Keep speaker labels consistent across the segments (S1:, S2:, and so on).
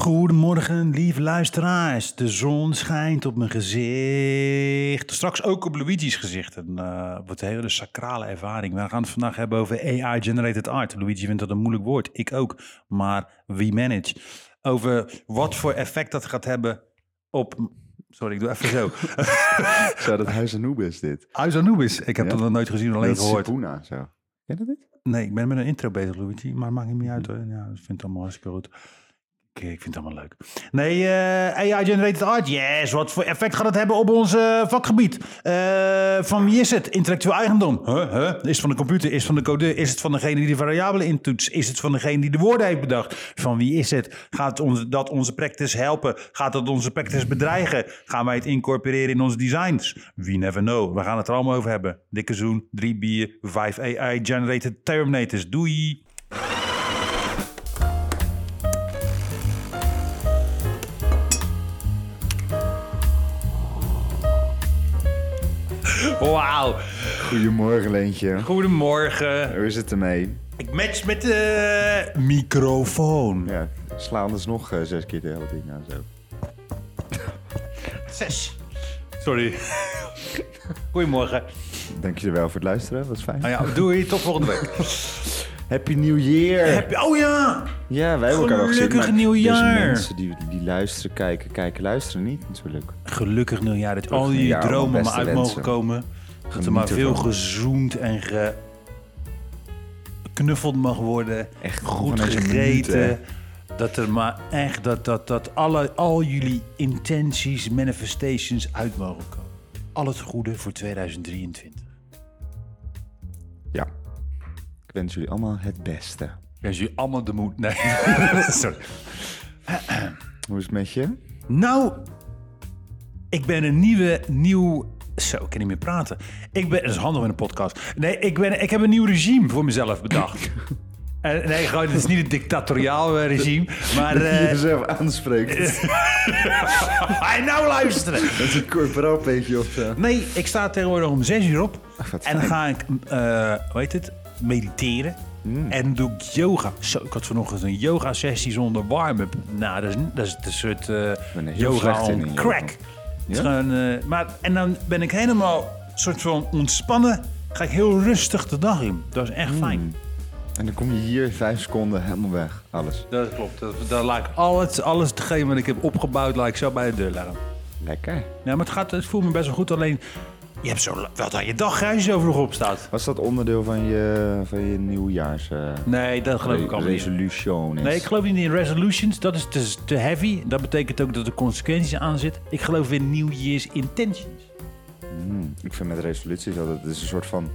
S1: Goedemorgen, lieve luisteraars. De zon schijnt op mijn gezicht. Straks ook op Luigi's gezicht. Een eh, wat een hele sacrale ervaring. We gaan het vandaag hebben over AI-generated art. Luigi vindt dat een moeilijk woord. Ik ook. Maar we manage. Over wat voor effect dat gaat hebben op... Sorry, ik doe even zo.
S2: Zo, dat Huis Anubis dit.
S1: Huis Anubis. Ik heb
S2: Ja.
S1: dat nog nooit gezien, alleen
S2: dat is
S1: gehoord.
S2: Sipuna, zo. Ken je dat niet?
S1: Nee, ik ben met een intro bezig, Luigi. Maar maakt niet meer uit. hoor. Ja, ik vind het allemaal hartstikke goed. Ik, ik vind het allemaal leuk. Nee, eh, AI-generated art. Yes, wat voor effect gaat het hebben op ons eh, vakgebied? Eh, van wie is het? Intellectueel eigendom. Huh, huh? Is het van de computer? Is het van de codeur? Is het van degene die de variabelen intoetst? Is het van degene die de woorden heeft bedacht? Van wie is het? Gaat ons, dat onze practice helpen? Gaat dat onze practice bedreigen? Gaan wij het incorporeren in onze designs? We never know. We gaan het er allemaal over hebben. Dikke zoen, drie bier, vijf AI-generated Terminators. Doei! Wauw!
S2: Goedemorgen, Leentje.
S1: Goedemorgen.
S2: Hoe is het ermee?
S1: Ik match met de microfoon.
S2: Ja, sla anders nog eh, zes keer de hele ding aan zo.
S1: Zes. Sorry. Goedemorgen.
S2: Dankjewel voor het luisteren, was fijn.
S1: Nou ja, doei, tot volgende week.
S2: Happy New Year!
S1: Heb je- oh ja!
S2: Ja, wij hebben elkaar al gezien.
S1: Gelukkig
S2: maar
S1: nieuwjaar!
S2: deze mensen die, die luisteren, kijken, kijken, luisteren niet natuurlijk.
S1: Gelukkig nieuwjaar dat al
S2: Gelukkig
S1: je
S2: nieuwjaar,
S1: dromen
S2: allemaal
S1: maar uit
S2: beste
S1: mogen
S2: wensen.
S1: komen. Dat er
S2: Geniet
S1: maar veel
S2: ervan.
S1: gezoend en geknuffeld mag worden.
S2: Echt
S1: goed
S2: van deze minuten, hè?
S1: gegeten. Dat er maar echt, dat, dat, dat alle, al jullie intenties, manifestations uit mogen komen. Al het goede voor 2023.
S2: Ja. Ik wens jullie allemaal het beste.
S1: Ik wens jullie allemaal de moed. Nee, sorry.
S2: Hoe is het met je?
S1: Nou, ik ben een nieuwe, nieuw... Zo, ik kan niet meer praten. Ik ben... Dat is handig in een podcast. Nee, ik, ben, ik heb een nieuw regime voor mezelf bedacht. Eh, nee, gewoon, het is niet een dictatoriaal eh, regime, maar...
S2: je
S1: eh,
S2: jezelf aanspreekt.
S1: Ga je nou luisteren!
S2: Dat is een corporaal beetje of zo.
S1: Nee, ik sta tegenwoordig om zes uur op.
S2: wat
S1: en dan ga ik, eh hoe heet het, mediteren.
S2: Mm.
S1: En dan doe ik yoga. Zo, ik had vanochtend een yoga sessie zonder warm-up. Nou, dat is, dat is een soort eh,
S2: ben er heel
S1: yoga
S2: slecht in,
S1: on
S2: in yoga.
S1: crack. Het is
S2: Ja?
S1: gewoon, eh, maar, en dan ben ik helemaal soort van ontspannen. Ga ik heel rustig de dag in. Dat is echt
S2: Mm.
S1: fijn.
S2: En dan kom je hier vijf seconden helemaal weg. Alles.
S1: Dat klopt. Dat, dat laat ik alles, alles hetgeen wat ik heb opgebouwd, laat ik zo bij de deur leggen.
S2: Lekker.
S1: Ja, maar het, gaat, het voelt me best wel goed. Alleen, je hebt zo wat aan je dag, hè, als je zo vroeg opstaat.
S2: Was dat onderdeel van je, van je nieuwjaars... eh,
S1: Nee, dat geloof ik
S2: re-
S1: allemaal niet.
S2: resolution is?
S1: Nee, ik geloof niet in resolutions. Dat is te, te heavy. Dat betekent ook dat er consequenties aan zitten. Ik geloof in New Year's intentions.
S2: Hmm, ik vind met resoluties altijd... Het is een soort van...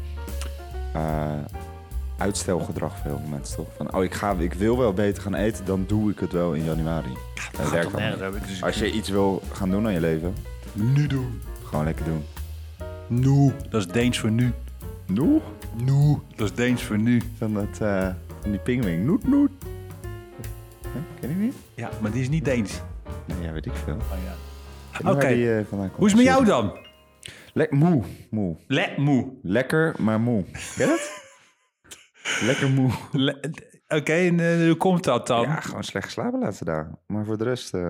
S2: eh, uitstelgedrag voor heel veel mensen, toch? Van, oh, ik, ga, ik wil wel beter gaan eten, dan doe ik het wel in januari. dat
S1: gaat
S2: werkt
S1: toch
S2: wel
S1: nergens
S2: niet.
S1: over? Dus ik-
S2: Als je iets wil gaan doen aan je leven,
S1: Nu doen.
S2: gewoon lekker doen.
S1: Nu. Dat is Deens voor nu.
S2: Noe?
S1: Nu. Dat is Deens voor nu.
S2: Van, dat, eh, van die pingwing. Noet, noet. Hè, ken je die niet?
S1: Ja, eh, maar die is niet Deens.
S2: Nee, ja, weet ik veel.
S1: Oh, ja.
S2: Oké.
S1: Oké.
S2: eh,
S1: Hoe is het met jou dan?
S2: Lekker moe. Moe.
S1: Le moe.
S2: Lekker, maar moe. Ken je dat? Lekker moe.
S1: Le- Oké, en eh, hoe komt dat dan?
S2: Ja, gewoon slecht geslapen de laatste dagen. Maar voor de rest eh,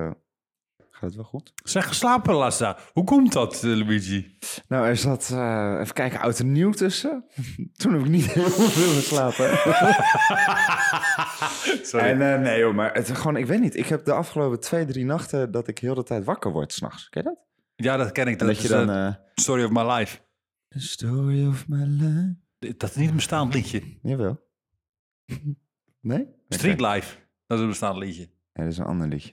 S2: gaat het wel goed.
S1: Zeg geslapen, Lassa. Hoe komt dat, eh, Luigi?
S2: Nou, er zat, eh, even kijken, oud en nieuw tussen. Toen heb ik niet heel veel geslapen. En eh, nee joh, maar het, gewoon, ik weet niet. Ik heb de afgelopen twee, drie nachten dat ik heel de tijd wakker word s'nachts. Ken je dat?
S1: Ja, dat ken ik. Dat,
S2: Dat, je
S1: is
S2: dan...
S1: eh,
S2: eh,
S1: Story of my life.
S2: The story of my life.
S1: Dat is niet een bestaand liedje.
S2: Jawel. Nee?
S1: Street
S2: Oké.
S1: Life. Dat is een bestaand liedje.
S2: Ja, dat is een ander liedje.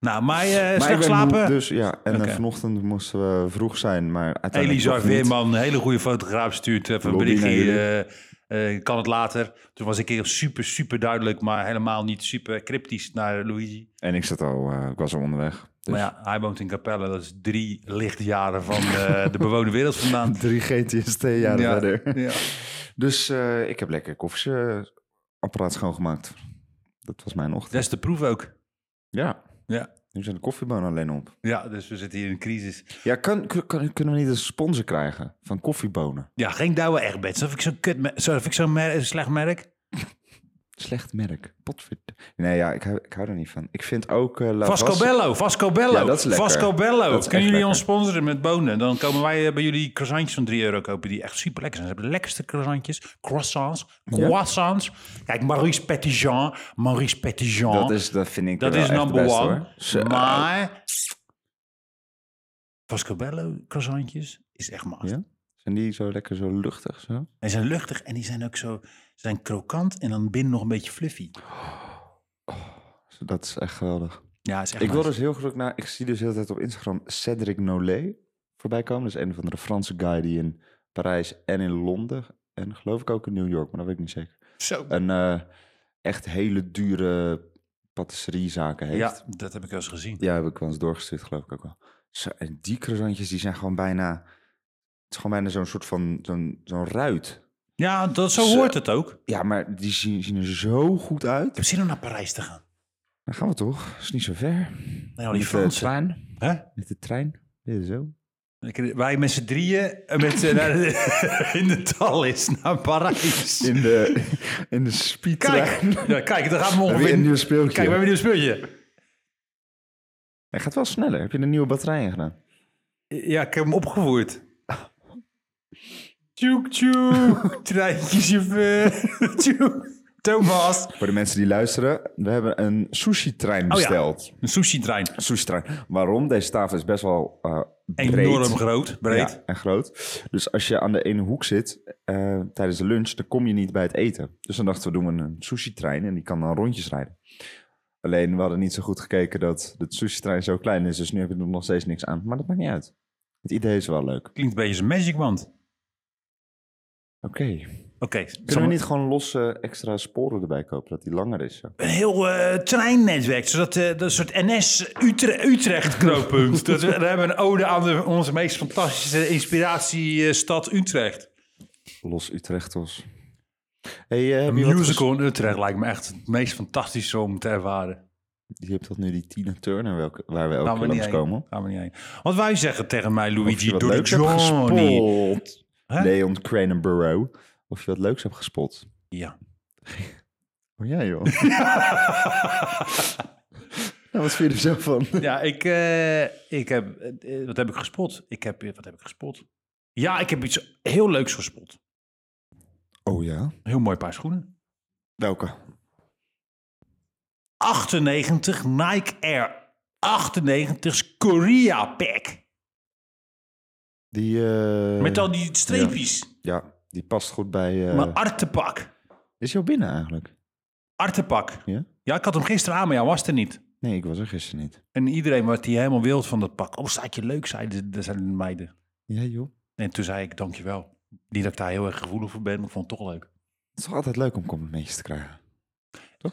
S1: Nou, maar, eh,
S2: Maar ik
S1: slecht
S2: ben moe,
S1: slapen.
S2: dus ja, en eh,
S1: Oké.
S2: vanochtend moesten we vroeg zijn, maar uiteindelijk
S1: Elisa
S2: toch eh, niet.
S1: Veerman, een hele goede fotograaf, stuurt even een
S2: Lobby naar
S1: berichtje. eh, eh, kan het later. Toen was ik heel super, super duidelijk, maar helemaal niet super cryptisch naar Luigi.
S2: En ik zat al, eh, ik was al onderweg. Dus.
S1: Maar ja, hij woont in Capelle. Dat is drie lichtjaren van eh, de bewoonde wereld vandaan.
S2: Dus Drie GTST jaren
S1: ja,
S2: verder.
S1: ja.
S2: Dus eh, ik heb lekker koffieapparaat schoongemaakt. Dat was mijn ochtend.
S1: Dat is de proef ook.
S2: Ja.
S1: Ja.
S2: Nu zijn de koffiebonen alleen op.
S1: Ja, dus we zitten hier in een crisis.
S2: Ja, kan, kun- kan- kunnen we niet een sponsor krijgen van koffiebonen?
S1: Ja, geen douwe echt bed. Zo vind ik zo'n kut, me- zo vind ik zo'n mer- slecht merk.
S2: Slecht merk. Potverd. Nee, ja, ik hou, ik hou er niet van. Ik vind ook eh La
S1: Vasco
S2: Vasse-
S1: Bello, Vasco Bello,
S2: Ja, dat is lekker.
S1: Vasco Bello.
S2: Dat is echt
S1: Kunnen jullie
S2: lekker.
S1: ons sponsoren met bonen? Dan komen wij eh, bij jullie croissantjes van 3 euro kopen. Die echt super lekker zijn. Ze hebben de lekkerste croissantjes. Croissants. Croissants. Kijk, Maurice Petitjean. Maurice Petitjean.
S2: Dat, is, eh, dat vind ik
S1: Dat
S2: wel
S1: is
S2: echt
S1: number
S2: de beste,
S1: one.
S2: hoor. Zo.
S1: Maar Vasco Bello croissantjes is echt maat.
S2: Ja? Zijn die zo lekker zo luchtig zo?
S1: En ze zijn luchtig en die zijn ook zo ze zijn krokant en dan binnen nog een beetje fluffy.
S2: Dus Dat is echt geweldig.
S1: Ja, is echt
S2: Ik wil
S1: nice.
S2: dus heel graag naar... Ik zie dus de hele tijd op Instagram Cedric Nollet voorbij komen. Dat is een van de Franse guy die in Parijs en in Londen... en geloof ik ook in New York, maar dat weet ik niet zeker.
S1: Zo.
S2: Een eh, echt hele dure patisseriezaken heeft.
S1: Ja, dat heb ik wel eens gezien.
S2: Ja, heb ik wel eens doorgestuurd, geloof ik ook wel. Zo, en die croissantjes, die zijn gewoon bijna... Het is gewoon bijna zo'n soort van... Zo'n zo'n ruit.
S1: Ja, dat, zo
S2: Zo.
S1: hoort het ook. Ik
S2: Ja, maar die zien, zien er zo goed uit.
S1: heb zin om naar Parijs te gaan.
S2: Dan gaan we toch. Is niet zo ver.
S1: Nee, al Oh, die
S2: Met de
S1: Fransen.
S2: trein.
S1: Hè?
S2: Met de trein. Dit is zo.
S1: Ik- Wij met z'n drieën eh, met, eh, naar de- in de tal is naar Parijs.
S2: In de, in de speedtrein.
S1: Kijk, ja, kijk, daar gaan we
S2: Heb je
S1: ongeveer...
S2: een nieuw
S1: Kijk, we
S2: speeltje?
S1: hebben een nieuw speeltje.
S2: Hij gaat wel sneller. Heb je een nieuwe batterij in gedaan?
S1: Ja, ik heb hem opgevoerd. Tjoek, tjoek. Treintjechauffeur. Tjoek. Thomas.
S2: Voor de mensen die luisteren. We hebben een sushi-trein
S1: Oh ja.
S2: besteld.
S1: Een sushi-trein.
S2: Sushi-trein. Waarom? Deze tafel is best wel eh breed.
S1: Enorm groot, breed.
S2: Ja, en groot. Dus als je aan de ene hoek zit eh, tijdens de lunch, dan kom je niet bij het eten. Dus dan dachten we, doen we een sushi-trein en die kan dan rondjes rijden. Alleen, we hadden niet zo goed gekeken dat de sushi-trein zo klein is, dus nu heb je er nog steeds niks aan. Maar dat maakt niet uit. Het idee is wel leuk. Oké.
S1: Klinkt een beetje als een magic wand. Oké.
S2: Kunnen we niet gewoon losse extra sporen erbij kopen, dat die langer is? Zo?
S1: Een heel eh, treinnetwerk, zodat eh, dat soort NS Utre- Utrecht knooppunt. dat we, we hebben een ode aan de, onze meest fantastische inspiratiestad eh, Utrecht.
S2: Los Utrechtos. Hey, eh,
S1: Een
S2: heb je wat ges-
S1: musical in Utrecht lijkt me echt het meest fantastische om te ervaren.
S2: Je hebt tot nu die Tina Turner, welke, waar we elke
S1: Gaan we
S2: keer
S1: Nou, niet heen.
S2: langskomen.
S1: Gaan we niet heen. Want wij zeggen tegen mij,
S2: Of je
S1: Luigi,
S2: wat
S1: door de
S2: leuks hebt
S1: Johnny.
S2: gespot.
S1: Hè?
S2: Leon Cranenburrow. Of je wat leuks hebt gespot.
S1: Ja.
S2: Oh ja, joh. nou, wat vind je er zo van?
S1: Ja, ik, eh, ik heb... eh, wat heb ik gespot? Ik heb... eh, Wat heb ik gespot? Ja, ik heb iets heel leuks gespot.
S2: Oh ja?
S1: Een heel mooi paar schoenen.
S2: Welke?
S1: 98 Nike Air 98's Korea Pack.
S2: Die, eh,
S1: Met al die streepjes.
S2: Ja, die past goed bij... eh,
S1: Mijn artepak.
S2: Is jou binnen eigenlijk?
S1: Artepak.
S2: Ja?
S1: Ja, ik had hem gisteren aan, maar jij was er niet.
S2: Nee, ik was er gisteren niet.
S1: En iedereen werd hier helemaal wild van dat pak. Oh, staat je leuk, zeiden de, zeiden de meiden.
S2: Ja, joh.
S1: En toen zei ik, dankjewel. Niet dat ik daar heel erg gevoelig voor ben, maar ik vond het toch leuk.
S2: Het is toch altijd leuk om complimentjes te krijgen?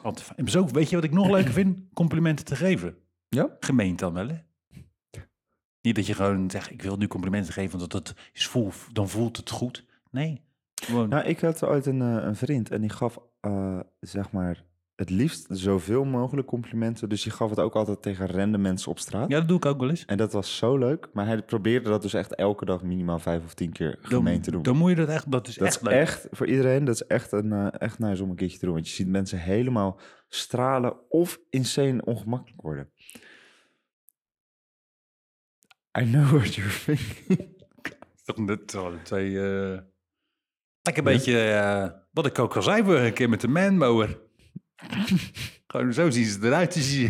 S1: Want, en zo, weet je wat ik nog leuker vind? Complimenten te geven.
S2: Ja?
S1: Gemeend dan wel, hè? Niet dat je gewoon zegt, ik wil nu complimenten geven, want dat, dat is voel, dan voelt het goed. Nee. Gewoon,
S2: Nou, ik had ooit een, eh, een vriend en die gaf, eh, zeg maar, het liefst zoveel mogelijk complimenten. Dus die gaf het ook altijd tegen random mensen op straat.
S1: ja, dat doe ik ook wel eens.
S2: En dat was zo leuk. Maar hij probeerde dat dus echt elke dag minimaal vijf of tien keer gemeen te doen.
S1: Dan moet je dat echt, dat is
S2: dat
S1: echt
S2: is
S1: leuk.
S2: echt voor iedereen, dat is echt, een, eh, echt nice om een keertje te doen. Want je ziet mensen helemaal stralen of insane ongemakkelijk worden. I know what you're thinking.
S1: Dat waren twee... eh, Lekker een beetje, eh, wat ik ook al zei vorige een keer met de manmower. Gewoon zo zien ze eruit, die zie je,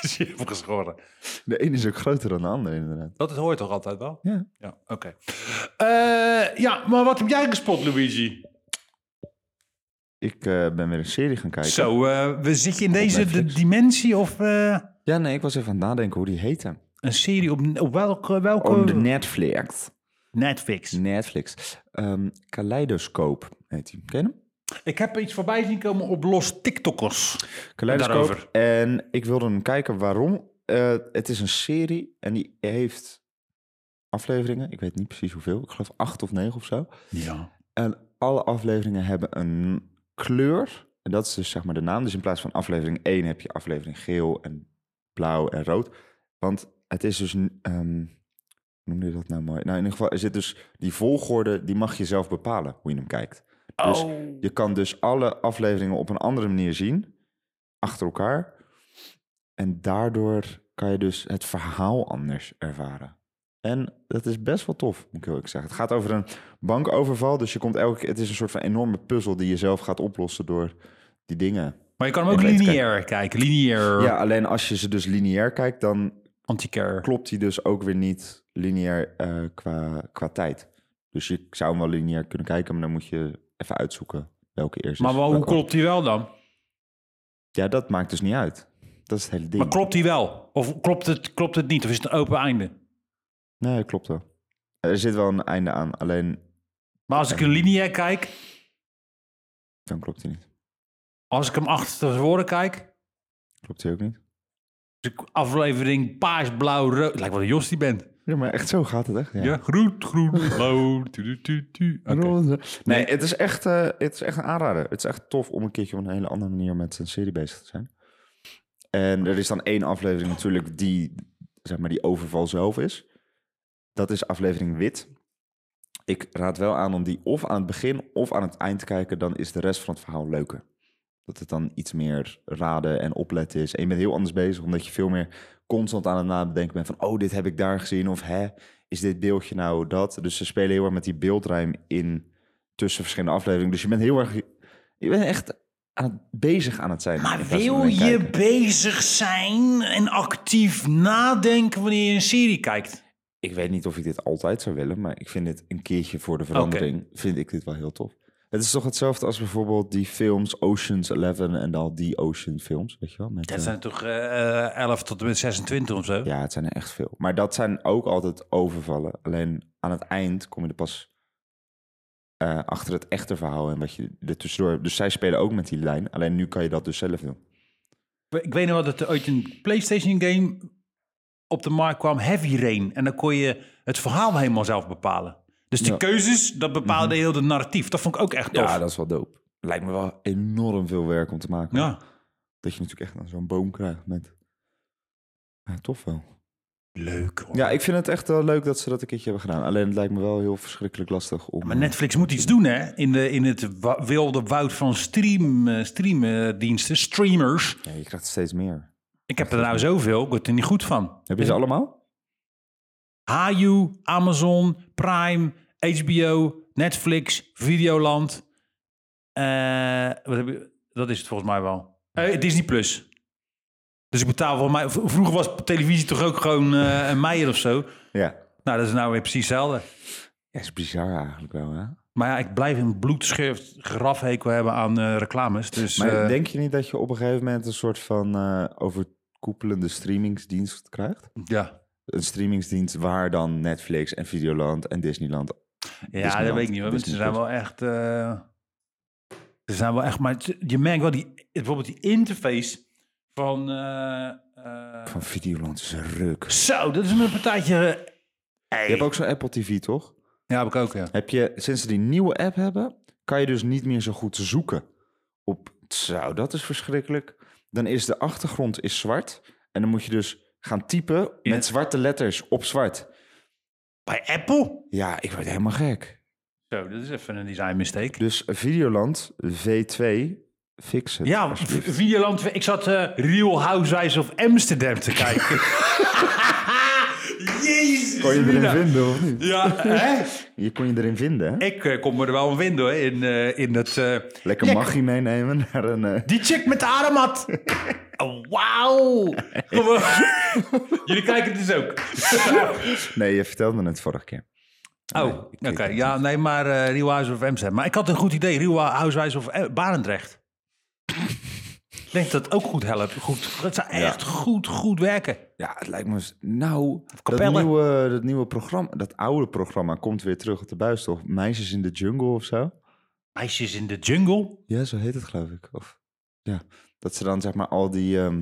S1: zie je opgeschoren.
S2: De ene is ook groter dan de andere inderdaad.
S1: Dat hoort toch altijd wel?
S2: Ja.
S1: Ja, oké. Eh, ja, maar wat heb jij gespot, Luigi?
S2: Ik eh, ben weer een serie gaan kijken.
S1: Zo, eh, we zitten in deze de
S2: Netflix.
S1: dimensie of eh,
S2: Ja, nee, ik was even aan het nadenken hoe die heette.
S1: een serie op, op welke, welke
S2: Oh, de Netflix.
S1: Netflix.
S2: Netflix. Ehm Kaleidoscoop heet die. Ken je hem?
S1: Ik heb iets voorbij zien komen op los TikTokkers. Daarover.
S2: Kaleidoscoop. En ik wilde hem kijken waarom. Eh, het is een serie en die heeft afleveringen. Ik weet niet precies hoeveel. Ik geloof acht of negen of zo.
S1: Ja.
S2: En alle afleveringen hebben een kleur. En dat is dus zeg maar de naam. Dus in plaats van aflevering 1 heb je aflevering geel en blauw en rood. Want het is dus... een, ehm hoe noemde je dat nou mooi? Nou, in ieder geval er zit dus die volgorde, die mag je zelf bepalen hoe je hem kijkt. Dus
S1: Oh.
S2: je kan dus alle afleveringen op een andere manier zien, achter elkaar. En daardoor kan je dus het verhaal anders ervaren. En dat is best wel tof, moet ik heel eerlijk zeggen. Het gaat over een bankoverval, dus je komt elke keer... Het is een soort van enorme puzzel die je zelf gaat oplossen door die dingen.
S1: Maar je kan hem ook
S2: Ik weet het,
S1: lineair kijken. Lineair
S2: Ja, alleen als je ze dus lineair kijkt, dan
S1: anti-care.
S2: klopt hij dus ook weer niet lineair eh, qua, qua tijd. Dus je zou hem wel lineair kunnen kijken, maar dan moet je even uitzoeken welke eerst
S1: Maar
S2: is,
S1: wel, hoe
S2: welke-
S1: klopt hij wel dan?
S2: Ja, dat maakt dus niet uit. Dat is het hele ding.
S1: Maar klopt hij wel? Of klopt het, klopt het niet? Of is het een open einde?
S2: Nee, klopt wel. Er zit wel een einde aan, alleen
S1: Maar als ik een lineair kijk,
S2: dan klopt hij niet.
S1: als ik hem achter de woorden kijk,
S2: Klopt hij ook niet.
S1: Dus ik- aflevering paars, blauw, rood. Lijkt wel een Jos die bent.
S2: Ja, maar echt zo gaat het echt. Ja.
S1: Ja, groen, groen, blauw. tu, tu, tu, tu. Oké.
S2: Roze. Nee, het is, echt, eh, het is echt een aanrader. Het is echt tof om een keertje op een hele andere manier met een serie bezig te zijn. En er is dan één aflevering natuurlijk die, zeg maar, die overval zelf is. Dat is aflevering wit. Ik raad wel aan om die of aan het begin of aan het eind te kijken. Dan is de rest van het verhaal leuker. Dat het dan iets meer raden en opletten is. En je bent heel anders bezig, omdat je veel meer constant aan het nadenken bent van... oh, dit heb ik daar gezien, of hè, is dit beeldje nou dat? Dus ze spelen heel erg met die beeldruim in tussen verschillende afleveringen. Dus je bent heel erg... Je bent echt aan het, bezig aan het zijn.
S1: Maar
S2: in plaats van
S1: wil
S2: alleen
S1: je
S2: kijken.
S1: bezig zijn en actief nadenken wanneer je een serie kijkt?
S2: Ik weet niet of ik dit altijd zou willen, maar ik vind dit een keertje voor de verandering, vind ik dit wel heel tof. Het is toch hetzelfde als bijvoorbeeld die films Ocean's 11 en al die Ocean films, weet je wel? Met,
S1: Dat
S2: eh,
S1: zijn toch eh, eh, 11 tot en met 26 of zo?
S2: Ja, het zijn er echt veel. Maar dat zijn ook altijd overvallen. Alleen aan het eind kom je er pas eh, achter het echte verhaal en wat je er tussendoor... Dus zij spelen ook met die lijn, alleen nu kan je dat dus zelf doen.
S1: Ik weet nog wat dat uit een PlayStation game op de markt kwam, Heavy Rain. En dan kon je het verhaal helemaal zelf bepalen. Dus die
S2: Ja. Mhm.
S1: keuzes, dat bepaalde heel de narratief. Dat vond ik ook echt tof.
S2: dat is wel dope. Lijkt me wel enorm veel werk om te maken.
S1: ja.
S2: Dat je natuurlijk echt aan zo'n boom krijgt met... Ja, tof wel.
S1: Leuk hoor.
S2: Ja, ik vind het echt wel leuk dat ze dat een keertje hebben gedaan. Alleen het lijkt me wel heel verschrikkelijk lastig om...
S1: Maar Netflix moet iets doen, hè? In, de, in het wa- wilde woud van stream, eh, streamdiensten, streamers.
S2: Ja, je krijgt steeds meer.
S1: Ik heb er nou zoveel, ik word er niet goed van.
S2: Heb je ze allemaal?
S1: Haju, Amazon, Prime, HBO, Netflix, Videoland. Eh, wat heb je? Dat is het volgens mij wel. Eh, Disney Plus. Dus ik betaal voor mij. v- Vroeger was televisie toch ook gewoon eh, een meijer of zo.
S2: Ja.
S1: Nou, dat is nou weer precies hetzelfde.
S2: Ja, is bizar eigenlijk wel, hè?
S1: Maar ja, ik blijf een bloedschurft grafhekel hebben aan eh, reclames. Dus,
S2: Maar
S1: eh,
S2: denk je niet dat je op een gegeven moment een soort van eh, overkoepelende streamingsdienst krijgt?
S1: ja.
S2: Een streamingsdienst waar dan Netflix en Videoland en Disneyland...
S1: Ja,
S2: Disneyland,
S1: dat weet ik niet hoor. want Ze zijn
S2: Disney
S1: wel echt. eh, ze zijn wel echt. Maar t- je merkt wel die. Bijvoorbeeld die interface van. eh, eh,
S2: Van Videoland is een ruk.
S1: zo, dat is een partijtje. eh, hey.
S2: Je hebt ook zo'n Apple TV, toch?
S1: Ja, heb ik ook, ja.
S2: Heb je, sinds ze die nieuwe app hebben, kan je dus niet meer zo goed zoeken op. Zo, dat is verschrikkelijk. Dan is de achtergrond is zwart. En dan moet je dus gaan typen
S1: Ja.
S2: met zwarte letters op zwart.
S1: Bij Apple?
S2: Ja, ik word helemaal gek.
S1: Zo, dat is even een design mistake.
S2: Dus Videoland V2, fix het.
S1: Ja,
S2: alsjeblieft.
S1: v- Videoland. Ik zat eh, Real Housewives of Amsterdam te kijken. Jezus.
S2: kon je erin
S1: Mina.
S2: vinden of niet?
S1: Ja, hè?
S2: Je kon je erin vinden, hè?
S1: Ik eh, kom er wel een wind hoor, in, eh, in dat... eh,
S2: Lekker magie meenemen naar een... eh,
S1: Die chick met de aromat. Oh, Wauw. Gewoon- Jullie kijken het dus ook.
S2: Nee, je vertelde me het vorige keer.
S1: Oh, oké. Ja, nee, maar eh Real House of Amsterdam. Maar ik had een goed idee. Real Housewives of eh, Barendrecht. Ik denk dat het ook goed helpt. Goed. Dat zou echt goed, goed werken.
S2: Ja, het lijkt me... z- Nou, dat
S1: Capelle.
S2: nieuwe, dat nieuwe programma, dat oude programma komt weer terug op de buis, toch? Meisjes in de Jungle of zo?
S1: Meisjes in de jungle.
S2: Ja, zo heet het geloof ik. Of, ja, dat ze dan zeg maar al die... ehm,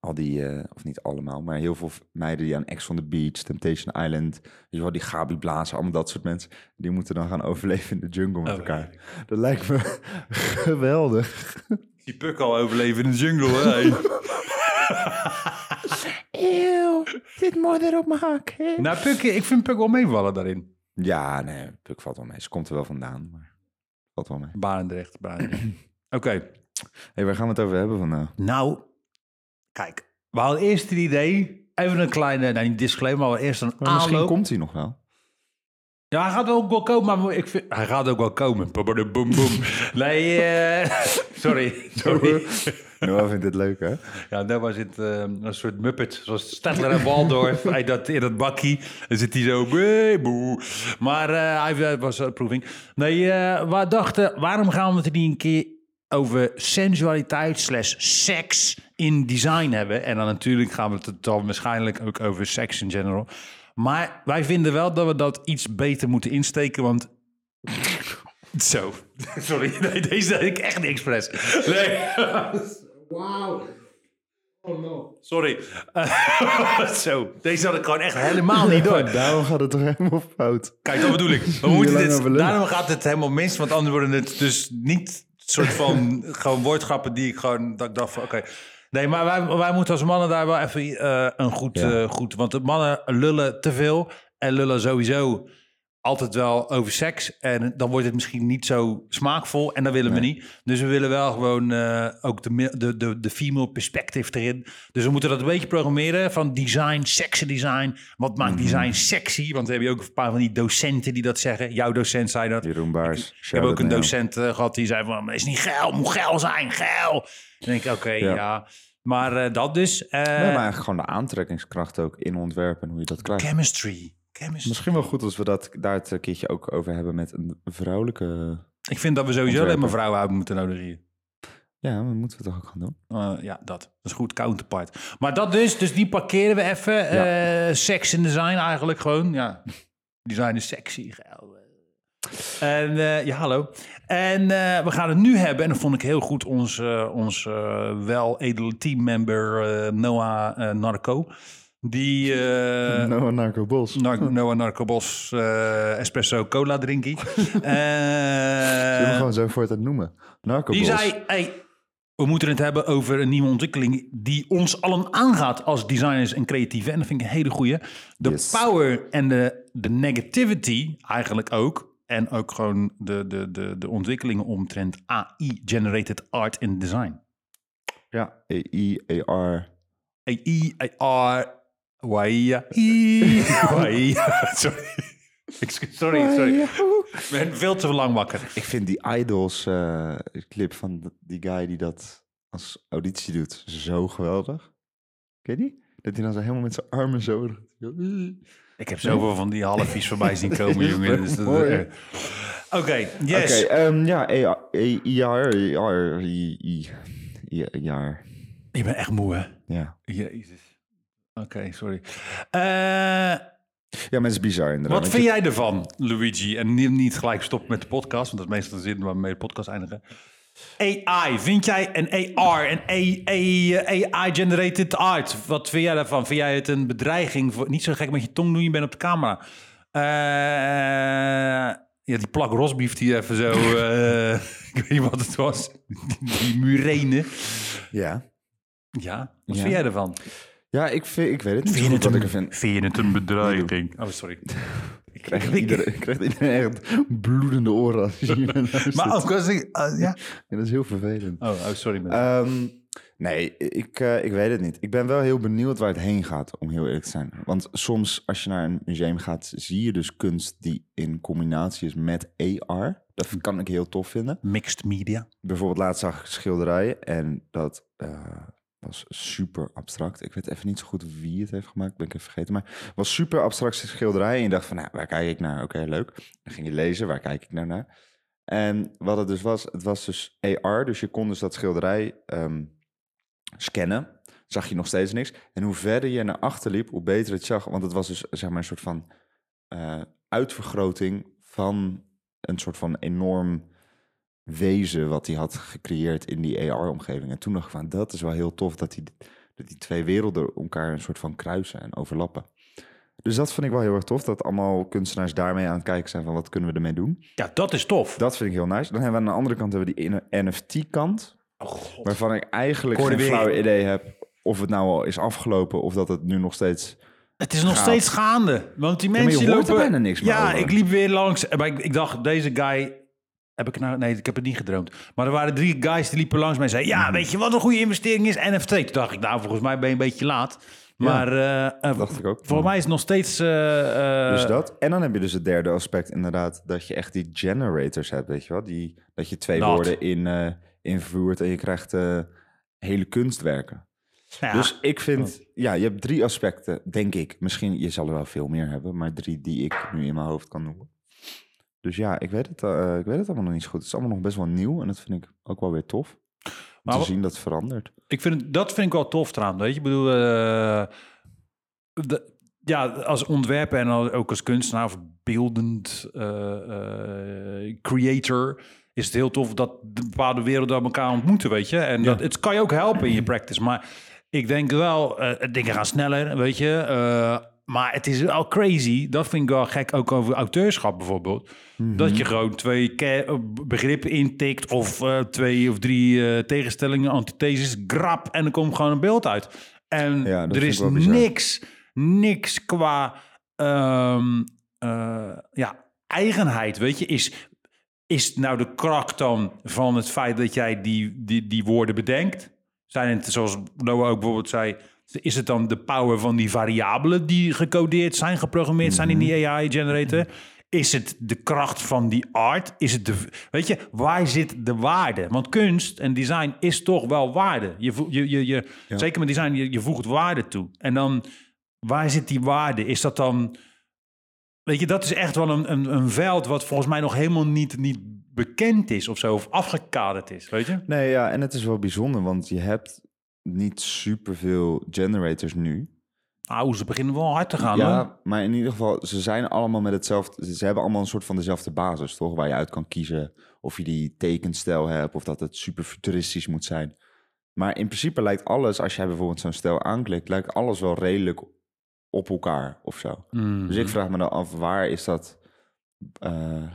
S2: al die, eh, of niet allemaal, maar heel veel meiden die aan Ex on the Beach, Temptation Island, weet je wel, die Gabi Blazen, allemaal dat soort mensen, die moeten dan gaan overleven in de jungle met
S1: Oh,
S2: elkaar. Dat lijkt me geweldig.
S1: Die puk al overleven in de jungle. Hè?
S2: Eeuw, dit modder op mijn hak.
S1: nou, Puk, ik vind Puk wel meevallen daarin.
S2: Ja, nee, Puk valt wel mee. Ze komt er wel vandaan, maar valt Valt wel mee.
S1: Barendrecht. Barendrecht. Oké.
S2: hey, waar gaan we het over hebben vandaag?
S1: Nou, kijk. We hadden eerst het idee. Even een kleine, nou niet disclaimer, maar eerst een
S2: Maar misschien
S1: aanloop.
S2: komt hij nog wel.
S1: Ja, hij gaat ook wel komen, maar ik vind... Hij gaat ook wel komen. Boom, boom, boom. Nee, eh, sorry. Sorry.
S2: Noah vindt Nou, dit leuk, hè?
S1: Ja, daar was het ehm, een soort muppet, zoals Stadler en Waldorf. hij dat, in dat bakkie, dan zit hij zo... "Wee, boe." Maar eh, hij wa- was een proeving. Nee, eh, we dachten, waarom gaan we het niet een keer over sensualiteit slash seks in design hebben? En dan natuurlijk gaan we het dan waarschijnlijk ook over seks in general. Maar wij vinden wel dat we dat iets beter moeten insteken, want... Zo, sorry. Nee, deze deed ik echt niet expres. Nee.
S3: Wow. Oh no.
S1: Sorry. Eh, zo, deze had ik gewoon echt helemaal niet door.
S2: Daarom gaat het toch helemaal fout.
S1: Kijk, dat bedoel ik. We
S2: Hier
S1: moeten
S2: lang over
S1: dit,
S2: lullen.
S1: daarom gaat het helemaal mis, want anders worden het dus niet soort van gewoon woordgrappen die ik gewoon dat ik dacht van oké. Nee, maar wij, wij moeten als mannen daar wel even eh, een goed, eh, goed. Want de mannen lullen te veel en lullen sowieso altijd wel over seks. En dan wordt het misschien niet zo smaakvol en dat willen we niet. Dus we willen wel gewoon eh, ook de, mi- de, de, de female perspective erin. Dus we moeten dat een beetje programmeren van design, sexy design. Wat maakt
S2: Mhm.
S1: design sexy? Want we hebben ook een paar van die docenten die dat zeggen. Jouw docent zei dat.
S2: Jeroen Baars.
S1: Ik heb ook een docent eh, gehad die zei van, is niet geil, moet geil zijn, geil. Dan denk ik, oké,
S2: Ja.
S1: ja. Maar eh, dat dus. eh,
S2: Nee, maar eigenlijk gewoon de aantrekkingskracht ook in ontwerpen en hoe je dat krijgt.
S1: Chemistry. Chemistry.
S2: Misschien wel goed als we dat, daar het een keertje ook over hebben met een vrouwelijke...
S1: Ik vind dat we sowieso alleen
S2: Ontwerpen.
S1: maar vrouwen hebben moeten nodigen hier.
S2: Ja, dat moeten we toch ook gaan doen?
S1: Eh, ja, dat. Dat is goed, counterpart. Maar dat dus, dus die parkeren we even. Eh, seks en design eigenlijk gewoon, ja. Design is sexy, geil. En eh, ja, hallo. En eh, we gaan het nu hebben, en dat vond ik heel goed, ons, eh, ons eh, wel edele teammember eh, Noah eh, Narco. Die eh,
S2: Noah Nou, Narco Bos.
S1: Nar- Noah Narco Bos eh, espresso cola drinkie.
S2: Zullen we
S1: Eh
S2: gewoon zo voor het noemen? Narco
S1: die
S2: Bos.
S1: zei, hey, we moeten het hebben over een nieuwe ontwikkeling die ons allen aangaat als designers en creatieven. En dat vind ik een hele goeie. De
S2: Yes.
S1: power en de, de negativity eigenlijk ook. En ook gewoon de, de, de, de ontwikkelingen omtrent AI-generated art in design.
S2: Ja, E E-I-E-R.
S1: AI, AR, WAIA, I, WAIA. Sorry. Excu- Sorry, sorry. Ik ben veel te lang wakker.
S2: Ik vind die Idols eh, clip van d- die guy die dat als auditie doet zo geweldig. Ken je die? Dat hij dan zo helemaal met zijn armen zo...
S1: Ik heb zoveel van die half vies voorbij zien komen, jongen. Dus dat-
S2: Mooi, hè?
S1: Oké, yes.
S2: Oké, ehm, ja, E-I-R, E-R, E-I-R.
S1: Ik ben echt moe, hè?
S2: Ja.
S1: Jezus. Oké, sorry. Eh,
S2: ja, maar het is bizar inderdaad.
S1: wat
S2: Want
S1: vind
S2: je-
S1: jij ervan, Luigi? En niet, niet gelijk stoppen met de podcast, want dat is meestal de zin waarmee de podcast eindigen. AI, vind jij een AR, een AI-generated art? Wat vind jij daarvan? Vind jij het een bedreiging? Voor, niet zo gek met je tong doen, je bent op de camera. Eh, ja, die plak rosbief die even zo... eh, ik weet niet wat het was. Die murene.
S2: Ja.
S1: Ja, wat
S2: Ja.
S1: vind jij ervan?
S2: Ja, ik, vind, ik weet het niet zo goed wat ik ervan
S1: Vind je het een bedreiging? Oh, sorry. Ik
S2: krijg. Iedereen krijgt iedereen echt bloedende oren als je hier naar luistert.
S1: Maar ook als ik... ah, ja.
S2: En dat is heel vervelend.
S1: Oh, oh, sorry. man.
S2: Ehm, nee, ik, eh, ik weet het niet. Ik ben wel heel benieuwd waar het heen gaat, om heel eerlijk te zijn. Want soms als je naar een museum gaat, zie je dus kunst die in combinatie is met AR. Dat kan ik heel tof vinden.
S1: Mixed media.
S2: bijvoorbeeld laatst zag ik schilderijen en dat eh, was super abstract. Ik weet even niet zo goed wie het heeft gemaakt, ben ik even vergeten. Maar het was super abstract schilderij en je dacht van, nou, waar kijk ik naar? Oké, leuk. Dan ging je lezen, waar kijk ik nou naar? En wat het dus was, het was dus AR, dus je kon dus dat schilderij ehm, scannen. Zag je nog steeds niks. En hoe verder je naar achter liep, hoe beter het zag. Want het was dus zeg maar een soort van eh, uitvergroting van een soort van enorm wezen wat hij had gecreëerd in die AR-omgeving. En toen dacht ik van, dat is wel heel tof dat die, dat die twee werelden elkaar een soort van kruisen en overlappen. Dus dat vind ik wel heel erg tof, dat allemaal kunstenaars daarmee aan het kijken zijn van wat kunnen we ermee doen.
S1: Ja, dat is tof.
S2: Dat vind ik heel nice. Dan hebben we aan de andere kant hebben we die NFT-kant,
S1: Oh, god.
S2: waarvan ik eigenlijk
S1: Ik hoorde
S2: geen
S1: weer-
S2: flauw idee heb of het nou al is afgelopen of dat het nu nog steeds...
S1: Het is nog
S2: Gaaf.
S1: steeds gaande. Want die
S2: maar je
S1: mensen
S2: hoort er
S1: lopen...
S2: bijna niks meer
S1: Ja,
S2: over.
S1: ik liep weer langs. Maar ik, ik dacht, deze guy... Heb ik nou... Nee, ik heb het niet gedroomd. Maar er waren drie guys die liepen langs mij en zeiden... Ja, weet je wat een goede investering is? NFT. Toen dacht ik, nou, volgens mij ben je een beetje laat. Maar eh, eh,
S2: dacht ik ook.
S1: voor mij is het nog steeds... eh, eh,
S2: Dus dat. En dan heb je dus het derde aspect inderdaad, dat je echt die generators hebt, weet je wel? Die, dat je twee
S1: Dat.
S2: woorden in, eh invoert en je krijgt eh, hele kunstwerken.
S1: nou ja.
S2: Dus ik vind, ja, je hebt drie aspecten, denk ik. Misschien, je zal er wel veel meer hebben, maar drie die ik nu in mijn hoofd kan noemen. Dus ja, ik weet het, eh, ik weet het allemaal nog niet zo goed. Het is allemaal nog best wel nieuw en dat vind ik ook wel weer tof. Om
S1: Maar wa-
S2: te zien dat het verandert.
S1: Ik vind, het- dat vind ik wel tof trouwens, weet je. Ik bedoel, eh, de- ja, als ontwerper en als- ook als kunstenaar of beeldend eh, eh, creator... is het heel tof dat de bepaalde werelden elkaar ontmoeten, weet je. En dat, het kan je ook helpen in je practice. Maar ik denk wel, eh, dingen gaan sneller, weet je. eh, maar het is wel crazy, dat vind ik wel gek, ook over auteurschap bijvoorbeeld.
S2: Mhm.
S1: Dat je gewoon twee ke- eh, begrippen intikt of eh, twee of drie eh, tegenstellingen, antitheses, grap en er komt gewoon een beeld uit. En
S2: Ja, dat
S1: er
S2: vind ik
S1: is
S2: wel bizar.
S1: niks, niks qua ehm, eh, ja, eigenheid, weet je, is, is nou de kracht dan van het feit dat jij die, die, die woorden bedenkt? Zijn het, zoals Noah ook bijvoorbeeld zei, is het dan de power van die variabelen die gecodeerd zijn, geprogrammeerd zijn in die AI-generator? Is het de kracht van die art? Is het de, weet je, waar zit de waarde? Want kunst en design is toch wel waarde. Je, vo- je, je, je, Zeker met design, je, je voegt waarde toe. En dan, waar zit die waarde? Is dat dan Weet je, dat is echt wel een, een, een veld wat volgens mij nog helemaal niet, niet bekend is of zo, of afgekaderd is, weet je?
S2: Nee, ja, en het is wel bijzonder, want je hebt niet superveel generators nu.
S1: Nou, ze beginnen wel hard te gaan, hoor.
S2: Ja, maar in ieder geval, ze zijn allemaal met hetzelfde. Ze ze hebben allemaal een soort van dezelfde basis, toch? Waar je uit kan kiezen of je die tekenstijl hebt of dat het super futuristisch moet zijn. Maar in principe lijkt alles, als jij bijvoorbeeld zo'n stijl aanklikt, lijkt alles wel redelijk op elkaar of zo.
S1: Hmm.
S2: Dus ik vraag me dan af, waar is dat? eh,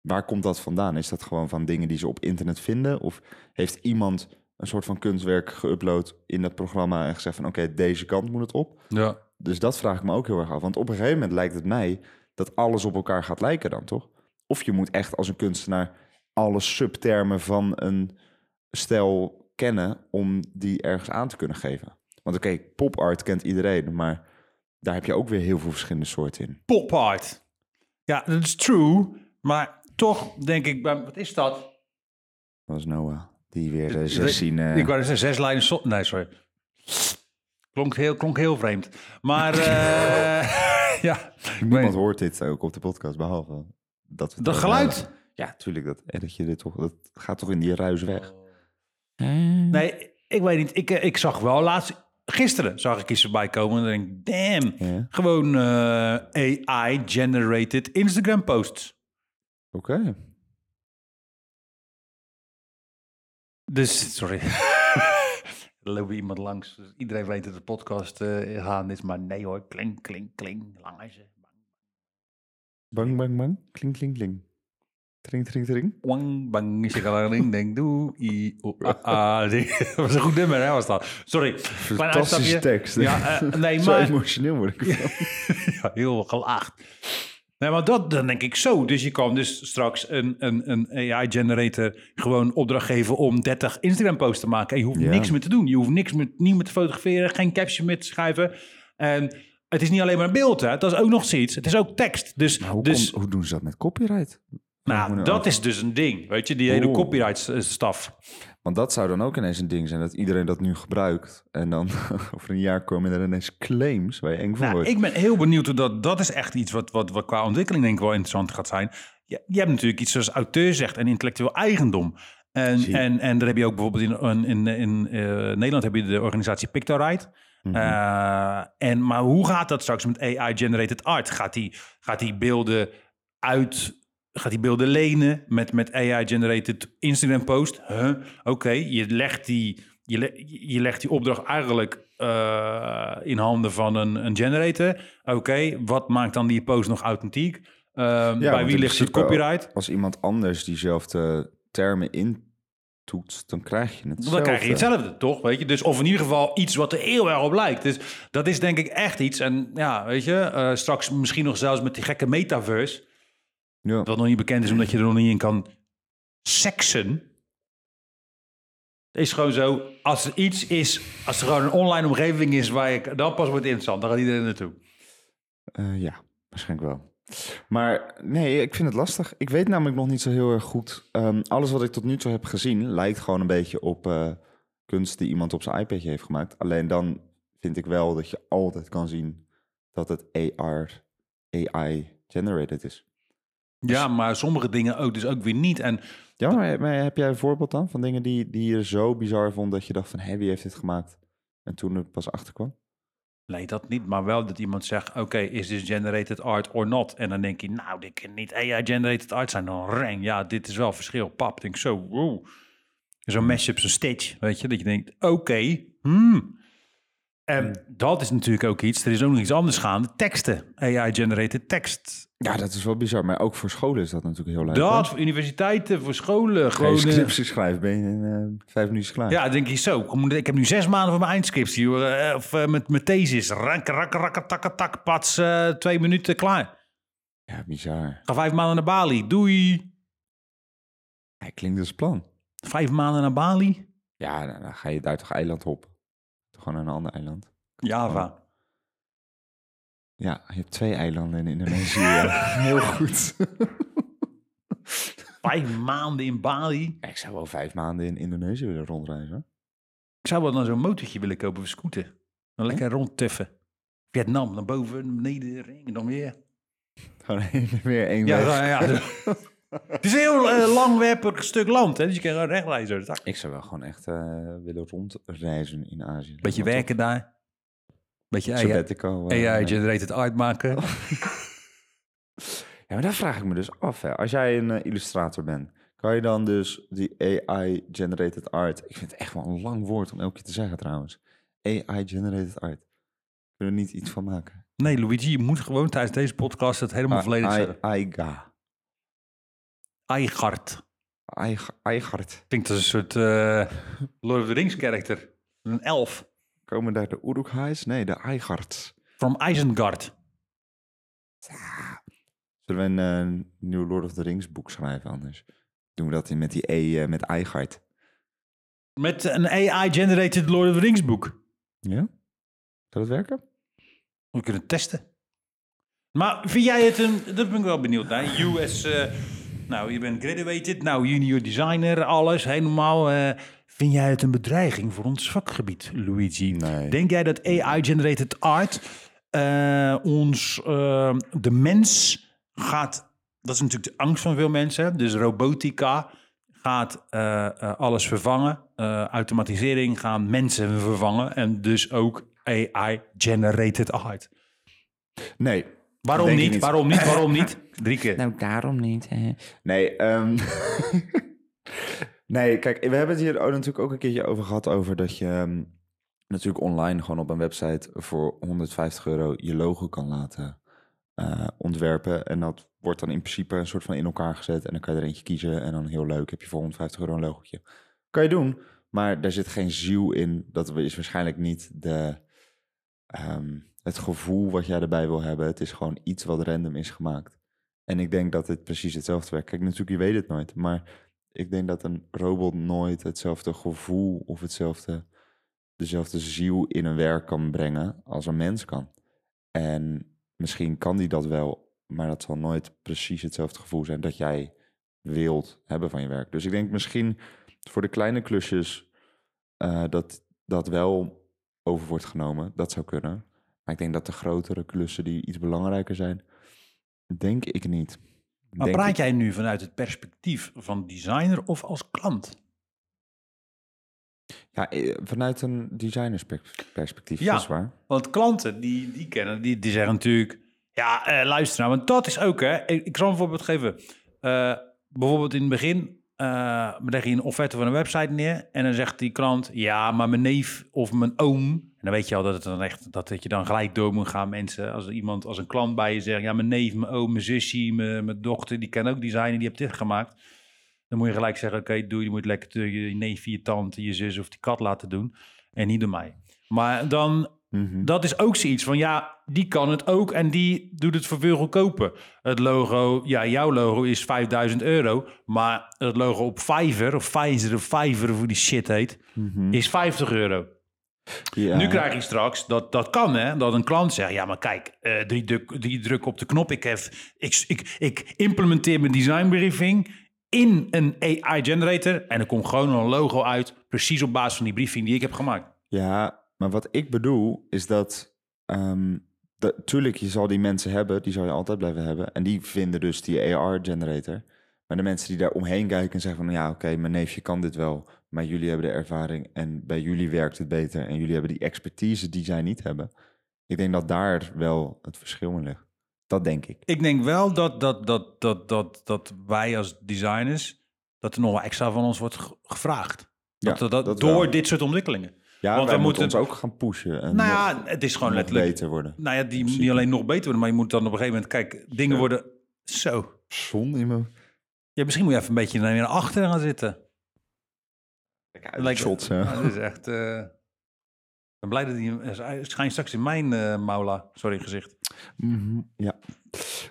S2: waar komt dat vandaan? Is dat gewoon van dingen die ze op internet vinden? Of heeft iemand een soort van kunstwerk geüpload in dat programma en gezegd van oké, deze kant moet het op?
S1: Ja.
S2: Dus dat vraag ik me ook heel erg af. Want op een gegeven moment lijkt het mij dat alles op elkaar gaat lijken dan, toch? Of je moet echt als een kunstenaar alle subtermen van een stijl kennen om die ergens aan te kunnen geven. Want oké, pop art kent iedereen, maar daar heb je ook weer heel veel verschillende soorten in.
S1: Pop art. Ja, dat is true, maar toch denk ik, bij- wat is dat?
S2: Dat was Noah, die weer eh,
S1: Ik-
S2: zes zien. eh,
S1: Ik wou zeggen, zes lijnen... so- nee, sorry. Klonk heel, klonk heel vreemd. Maar, eh, ja. Ik
S2: niemand
S1: weet-
S2: hoort dit ook op de podcast, behalve dat... we het
S1: Dat
S2: over
S1: geluid.
S2: hebben. Ja, tuurlijk. Dat, en dat, je dit toch, dat gaat toch in die ruis weg.
S1: Nee, ik weet niet. Ik, eh, ik zag wel laatst... Gisteren zag ik iets voorbij komen en dan denk ik, damn.
S2: Ja.
S1: Gewoon eh, AI-generated Instagram posts.
S2: Oké.
S1: Dus, sorry. er loopt hier iemand langs. Dus iedereen weet dat de podcast eh gaan is, maar nee hoor. Kling, kling, kling. Lange ze.
S2: Bang, bang, bang. Kling, kling, kling. Tring, tring, tring.
S1: Wang, bang, shakalang, denk, doe, i, o, a, a. Dat was een goed nummer, hè, was dat. Sorry. Klein
S2: Fantastische
S1: uitstapje.
S2: tekst.
S1: Ja, eh, nee,
S2: Zo
S1: maar...
S2: emotioneel word ik. ervan.
S1: ja, heel gelaagd. Nee, maar dat dan denk ik zo. Dus je kan dus straks een, een, een AI-generator gewoon opdracht geven om 30 Instagram-posts te maken. En je hoeft
S2: Ja.
S1: niks meer te doen. Je hoeft niks meer, niet meer te fotograferen, geen caption meer te schrijven. En het is niet alleen maar een beeld, hè. Dat is ook nog zoiets. Het is ook tekst. Dus,
S2: Maar hoe,
S1: dus
S2: komt- hoe doen ze dat met copyright? Vraag
S1: nou,
S2: me nou
S1: dat
S2: af.
S1: is dus een ding. Weet je, die hele eh,
S2: Oeh.
S1: copyright-staf.
S2: Want dat zou dan ook ineens een ding zijn dat iedereen dat nu gebruikt. En dan over een jaar komen er ineens claims waar je eng van
S1: Nou,
S2: wordt.
S1: ik ben heel benieuwd hoe dat... Dat is echt iets wat, wat, wat qua ontwikkeling denk ik wel interessant gaat zijn. Je, je hebt natuurlijk iets zoals auteur zegt en intellectueel eigendom. En,
S2: Zie.
S1: en, en daar heb je ook bijvoorbeeld in, in, in eh, Nederland heb je de organisatie Pictorite. Eh, en, maar hoe gaat dat straks met AI-generated art? Gaat die, gaat die beelden uit... Gaat die beelden lenen met, met AI-generated Instagram-post? Huh? Oké, je, legt die, je, le- je legt die opdracht eigenlijk eh, in handen van een, een generator. Oké, wat maakt dan die post nog authentiek? Eh, bij
S2: want
S1: wie
S2: in
S1: ligt het
S2: principe,
S1: copyright?
S2: Als iemand anders diezelfde termen intoetst, dan krijg je het.
S1: Dan krijg je hetzelfde, toch? Weet je? Dus of in ieder geval iets wat er heel erg op lijkt. Dus dat is denk ik echt iets. En ja, weet je, eh, straks misschien nog zelfs met die gekke metaverse.
S2: Ja.
S1: Wat nog niet bekend is, omdat je er nog niet in kan seksen. Het is gewoon zo, als er iets is, als er gewoon een online omgeving is waar ik, dan pas wordt het interessant, dan gaat iedereen naartoe.
S2: Eh, ja, waarschijnlijk wel. Maar nee, ik vind het lastig. Ik weet namelijk nog niet zo heel erg goed. Ehm, alles wat ik tot nu toe heb gezien lijkt gewoon een beetje op eh, kunst die iemand op zijn iPadje heeft gemaakt. Alleen dan vind ik wel dat je altijd kan zien dat het AR, AI generated is.
S1: Ja, maar sommige dingen ook dus ook weer niet. En
S2: Ja, maar, maar heb jij een voorbeeld dan van dingen die, die je zo bizar vond dat je dacht van, hé, wie heeft dit gemaakt? En toen er pas achter kwam.
S1: Nee, dat niet. Maar wel dat iemand zegt, oké, is this generated art or not? En dan denk je, nou, dit kan niet AI-generated art zijn. Dan reng, ja, dit is wel verschil. Pap, denk ik zo, wow. Zo'n mashup, zo'n stitch, weet je. Dat je denkt, oké, hmm. En dat is natuurlijk ook iets. Er is ook nog iets anders gaande. Teksten. AI-generated tekst.
S2: Ja, dat is wel bizar. Maar ook voor scholen is dat natuurlijk heel leuk.
S1: Dat voor universiteiten, voor scholen.
S2: Gewoon
S1: Gewoon,
S2: je
S1: eh,
S2: scriptie schrijven, ben je in eh, vijf minuten klaar.
S1: ja, dan denk je zo. kom, Ik heb nu zes maanden voor mijn eindscriptie. hoor, eh, Of eh, met mijn thesis. Rank, rak, rak, tak, tak, pats. eh, twee minuten, klaar.
S2: Ja, bizar.
S1: Ga vijf maanden naar Bali. Doei.
S2: Hij klinkt als plan.
S1: Vijf maanden naar Bali?
S2: Ja, nou, dan ga je daar toch eiland hop. Toch gewoon naar een ander eiland.
S1: Java.
S2: Ja, je hebt twee eilanden in Indonesië. ja. Heel goed.
S1: Vijf maanden in Bali?
S2: Ja, ik zou wel vijf maanden in Indonesië willen rondreizen.
S1: Ik zou wel dan zo'n motortje willen kopen voor scooter. Dan lekker rondtuffen. Vietnam, naar boven, naar beneden, ring, dan weer.
S2: Gewoon heen en weer één
S1: Ja,
S2: weg.
S1: ja, ja. Het is een heel eh, langwerpig stuk land, hè? dus je kan gewoon recht reizen. Zo.
S2: Ik zou wel gewoon echt eh, willen rondreizen in Azië.
S1: Beetje
S2: Dat
S1: werken daar. Beetje
S2: toch
S1: AI,
S2: Sabbatical. eh,
S1: AI
S2: nee.
S1: generated art maken.
S2: Ja, maar daar vraag ik me dus af. Hè. Als jij een eh, illustrator bent, kan je dan dus die AI-generated art... Ik vind het echt wel een lang woord om elke keer te zeggen trouwens. AI-generated art. Kunnen we er niet iets van maken? Ah,
S1: Nee, Luigi, je moet gewoon tijdens deze podcast het helemaal volledig
S2: AI-
S1: zeggen.
S2: Aiga.
S1: Eigart.
S2: Aig- Aigard.
S1: Klinkt als een soort eh, Lord of the Rings karakter. Een elf.
S2: Komen daar de Urukhais? Nee, de Aigard.
S1: From Isengard.
S2: Zullen we een eh, nieuw Lord of the Rings boek schrijven anders? Doen we dat in met die E eh, met Aigard.
S1: Met een AI-generated Lord of the Rings boek.
S2: Ja? Zou dat werken?
S1: We kunnen het testen. Maar vind jij het een... Dat ben ik wel benieuwd naar. You as... eh, nou, je bent graduated. Nou, junior designer. Alles. Helemaal. eh vind jij het een bedreiging voor ons vakgebied, Luigi?
S2: Nee.
S1: Denk jij dat AI-generated art eh, ons... eh, de mens gaat... Dat is natuurlijk de angst van veel mensen. hè, Dus robotica gaat eh, eh, alles vervangen. Eh, automatisering gaan mensen vervangen. En dus ook AI-generated art.
S2: Nee.
S1: Waarom
S2: Denk ik
S1: niet?
S2: niet.
S1: Waarom niet? Waarom niet? Drie keer.
S2: Nou, daarom niet. Nee, ehm, nee, kijk, we hebben het hier ook natuurlijk ook een keertje over gehad. Over dat je ehm, natuurlijk online gewoon op een website voor 150 euro je logo kan laten eh, ontwerpen. En dat wordt dan in principe een soort van in elkaar gezet. En dan kan je er eentje kiezen. En dan heel leuk heb je voor 150 euro een logootje. Kan je doen, maar daar zit geen ziel in. Dat is waarschijnlijk niet de. ehm, het gevoel wat jij erbij wil hebben, het is gewoon iets wat random is gemaakt. En ik denk dat het precies hetzelfde werkt. Kijk, natuurlijk, je weet het nooit. Maar ik denk dat een robot nooit hetzelfde gevoel of hetzelfde, dezelfde ziel in een werk kan brengen als een mens kan. En misschien kan die dat wel, maar dat zal nooit precies hetzelfde gevoel zijn dat jij wilt hebben van je werk. Dus ik denk misschien voor de kleine klusjes eh, dat dat wel over wordt genomen. Dat zou kunnen. Maar ik denk dat de grotere klussen die iets belangrijker zijn, denk ik niet.
S1: Maar
S2: Denk
S1: praat jij nu vanuit het perspectief van designer of als klant?
S2: Ja, eh, vanuit een designersperspectief,
S1: Ja.
S2: dat is waar.
S1: Want klanten die, die kennen, die, die zeggen natuurlijk... Ja, eh, luister nou, want dat is ook... Hè, ik, ik zal een voorbeeld geven. Eh, bijvoorbeeld in het begin eh leg je een offerte van een website neer... en dan zegt die klant... Ja, maar mijn neef of mijn oom... En dan weet je al dat, het dan echt, dat, dat je dan gelijk door moet gaan, mensen. Als er iemand, als een klant bij je zegt... Ja, mijn neef, mijn oom, mijn zusje, mijn, mijn dochter... die kan ook designen, die heeft dit gemaakt. Dan moet je gelijk zeggen, oké, doe je moet lekker eh, je neef, je tante, je zus of die kat laten doen. En niet door mij. Maar dan Dat is ook zoiets van, ja, die kan het ook en die doet het voor veel goedkoper. Het logo, ja, jouw logo is 5000 euro, maar het logo op Fiverr of Pfizer of Fiverr of hoe die shit heet, is 50 euro.
S2: Mhm. Ja.
S1: Nu krijg je straks, dat, dat kan hè, dat een klant zegt, ja maar kijk, eh, drie, druk, drie druk op de knop, ik, heb, ik, ik, ik implementeer mijn designbriefing in een AI-generator en er komt gewoon een logo uit, precies op basis van die briefing die ik heb gemaakt.
S2: Ja, maar wat ik bedoel is dat, ehm dat... Tuurlijk, je zal die mensen hebben, die zal je altijd blijven hebben. En die vinden dus die AR-generator. Maar de mensen die daar omheen kijken en zeggen van... Ja, oké, mijn neefje kan dit wel. Maar jullie hebben de ervaring en bij jullie werkt het beter. En jullie hebben die expertise die zij niet hebben. Ik denk dat daar wel het verschil in ligt. Dat denk ik.
S1: Ik denk wel dat, dat, dat, dat, dat, dat wij als designers, dat er nog wel extra van ons wordt ge- gevraagd. Dat,
S2: Ja,
S1: dat, dat-
S2: dat
S1: door
S2: wel.
S1: dit soort ontwikkelingen.
S2: Ja,
S1: Want
S2: wij
S1: we
S2: moeten
S1: moeten-
S2: ons ook gaan pushen. En
S1: nou
S2: nog-
S1: ja, het is gewoon
S2: nog
S1: letterlijk.
S2: beter worden.
S1: Nou ja, die niet alleen nog beter worden, maar je moet dan op een gegeven moment, kijk, dingen worden zo.
S2: Zon in mijn...
S1: Ja, misschien moet je even een beetje naar naar achteren gaan zitten.
S2: Lijkt shot, hè.
S1: Ja, dat is echt. eh, Ik ben blij dat hij. Het schijnt straks in mijn eh maula. Sorry, gezicht.
S2: Mhm, ja.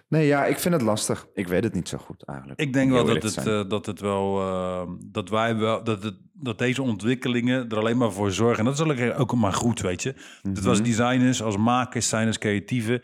S2: Nee, ja, ik vind het lastig. Ik weet het niet zo goed eigenlijk.
S1: Ik denk
S2: Om
S1: wel
S2: heel
S1: dat
S2: eerlijk te
S1: het,
S2: zijn.
S1: eh, dat het wel. eh, dat wij wel. Dat, het, dat deze ontwikkelingen er alleen maar voor zorgen. En dat is ook- ook maar goed, weet je. Dat
S2: Mhm.
S1: was designers, als makers zijn, als creatieven.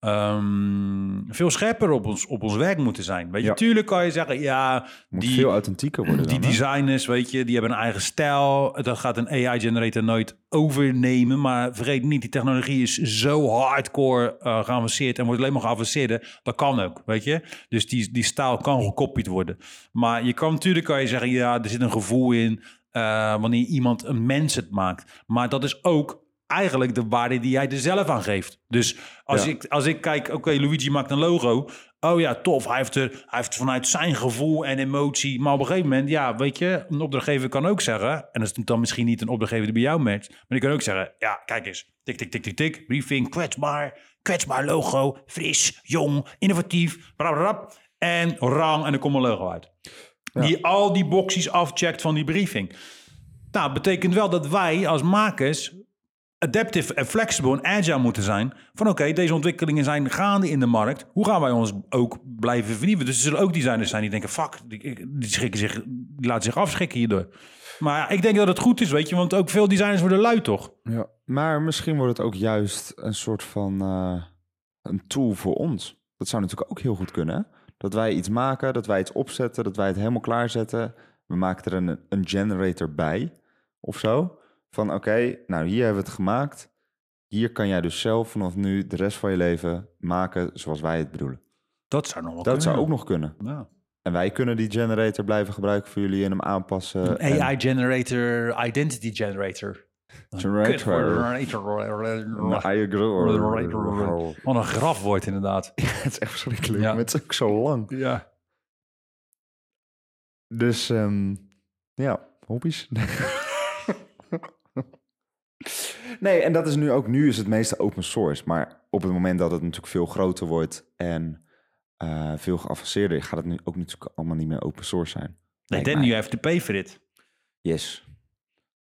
S1: ehm, veel scherper op ons, op ons werk moeten zijn. Weet je,
S2: Ja.
S1: tuurlijk kan je zeggen, ja,
S2: Moet
S1: die,
S2: veel authentieker worden
S1: die
S2: dan, hè?
S1: designers, weet je, die hebben een eigen stijl. Dat gaat een AI-generator nooit overnemen. Maar vergeet niet, die technologie is zo hardcore eh, geavanceerd en wordt alleen maar geavanceerder. Dat kan ook, weet je. Dus die, die stijl kan gekopieerd worden. Maar je kan natuurlijk kan je zeggen, ja, er zit een gevoel in eh, wanneer iemand een mens het maakt. Maar dat is ook eigenlijk de waarde die jij er zelf aan geeft. Dus als,
S2: Ja.
S1: ik, als ik kijk, oké, Luigi maakt een logo. Oh ja, tof. Hij heeft, er, hij heeft vanuit zijn gevoel en emotie. Maar op een gegeven moment, ja, weet je, een opdrachtgever kan ook zeggen. En dat is dan misschien niet een opdrachtgever die bij jou matcht. Maar die kan ook zeggen: ja, kijk eens. Tik, tik, tik, tik, tik. Briefing, kwetsbaar. Kwetsbaar logo. Fris, jong, innovatief. Bla bla bla. En rang. En er komt een logo uit. Die al die boxjes afcheckt van die briefing. Nou, betekent wel dat wij als makers adaptive en flexible en agile moeten zijn. Van oké, deze ontwikkelingen zijn gaande in de markt. Hoe gaan wij ons ook blijven vernieuwen? Dus er zullen ook designers zijn die denken, fuck, die, die, schrikken zich, die laten zich afschrikken hierdoor. Maar ja, ik denk dat het goed is, weet je. Want ook veel designers worden lui, toch?
S2: Ja. Maar misschien wordt het ook juist een soort van eh, een tool voor ons. Dat zou natuurlijk ook heel goed kunnen. hè? Dat wij iets maken, dat wij iets opzetten, dat wij het helemaal klaarzetten. We maken er een, een generator bij of zo. Van oké, nou hier hebben we het gemaakt. Hier kan jij dus zelf vanaf nu de rest van je leven maken zoals wij het bedoelen.
S1: Dat zou nog wel
S2: Dat
S1: kunnen.
S2: zou ook nog kunnen.
S1: Ja.
S2: En wij kunnen die generator blijven gebruiken voor jullie en hem aanpassen. en-
S1: AI generator, identity generator.
S2: Generator. Nou, I agree.
S1: Wat een grafwoord inderdaad.
S2: Het is echt verschrikkelijk.
S1: Ja.
S2: Maar het is ook zo lang.
S1: Ja.
S2: Dus ehm, ja, hobby's. nee, en dat is nu ook nu is het meeste open source. Maar op het moment dat het natuurlijk veel groter wordt en eh, veel geavanceerder, gaat het nu ook natuurlijk allemaal niet meer open source zijn.
S1: Nee,
S2: Lijkt
S1: then
S2: mij.
S1: you have to pay for it.
S2: Yes.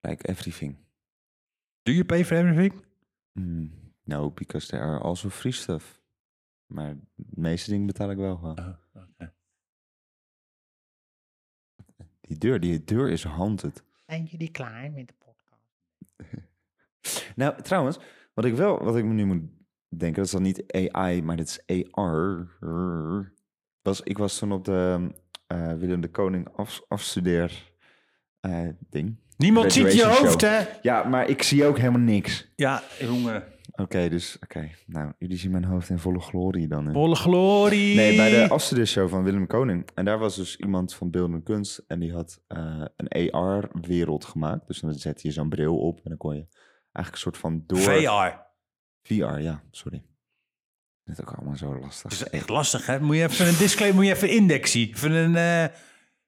S2: Like everything.
S1: Do you pay for everything?
S2: Mm, no, because there are also free stuff. Maar de meeste dingen betaal ik wel gewoon. Die deur, die deur is haunted.
S4: Zijn jullie klaar met de podcast?
S2: Nou, trouwens, wat ik wel, wat ik me nu moet denken, dat is dan niet AI, maar dit is AR. Was, ik was toen op de eh, Willem de Koning af, afstudeer eh, ding.
S1: Niemand ziet je
S2: Graduation
S1: hoofd,
S2: show.
S1: hè?
S2: Ja, maar ik zie ook helemaal niks.
S1: Ja, jongen.
S2: Oké, dus, oké. Nou, jullie zien mijn hoofd in volle glorie dan. hè?
S1: Volle glorie.
S2: Nee, bij de afstudeershow van Willem Koning. En daar was dus iemand van beeldende kunst. En die had eh, een AR-wereld gemaakt. Dus dan zette je zo'n bril op. En dan kon je eigenlijk een soort van door...
S1: VR.
S2: VR, ja, sorry. Dit is ook allemaal zo lastig.
S1: Dat is echt lastig, hè? Moet je even een disclaimer, moet je even een indexie. Even een eh,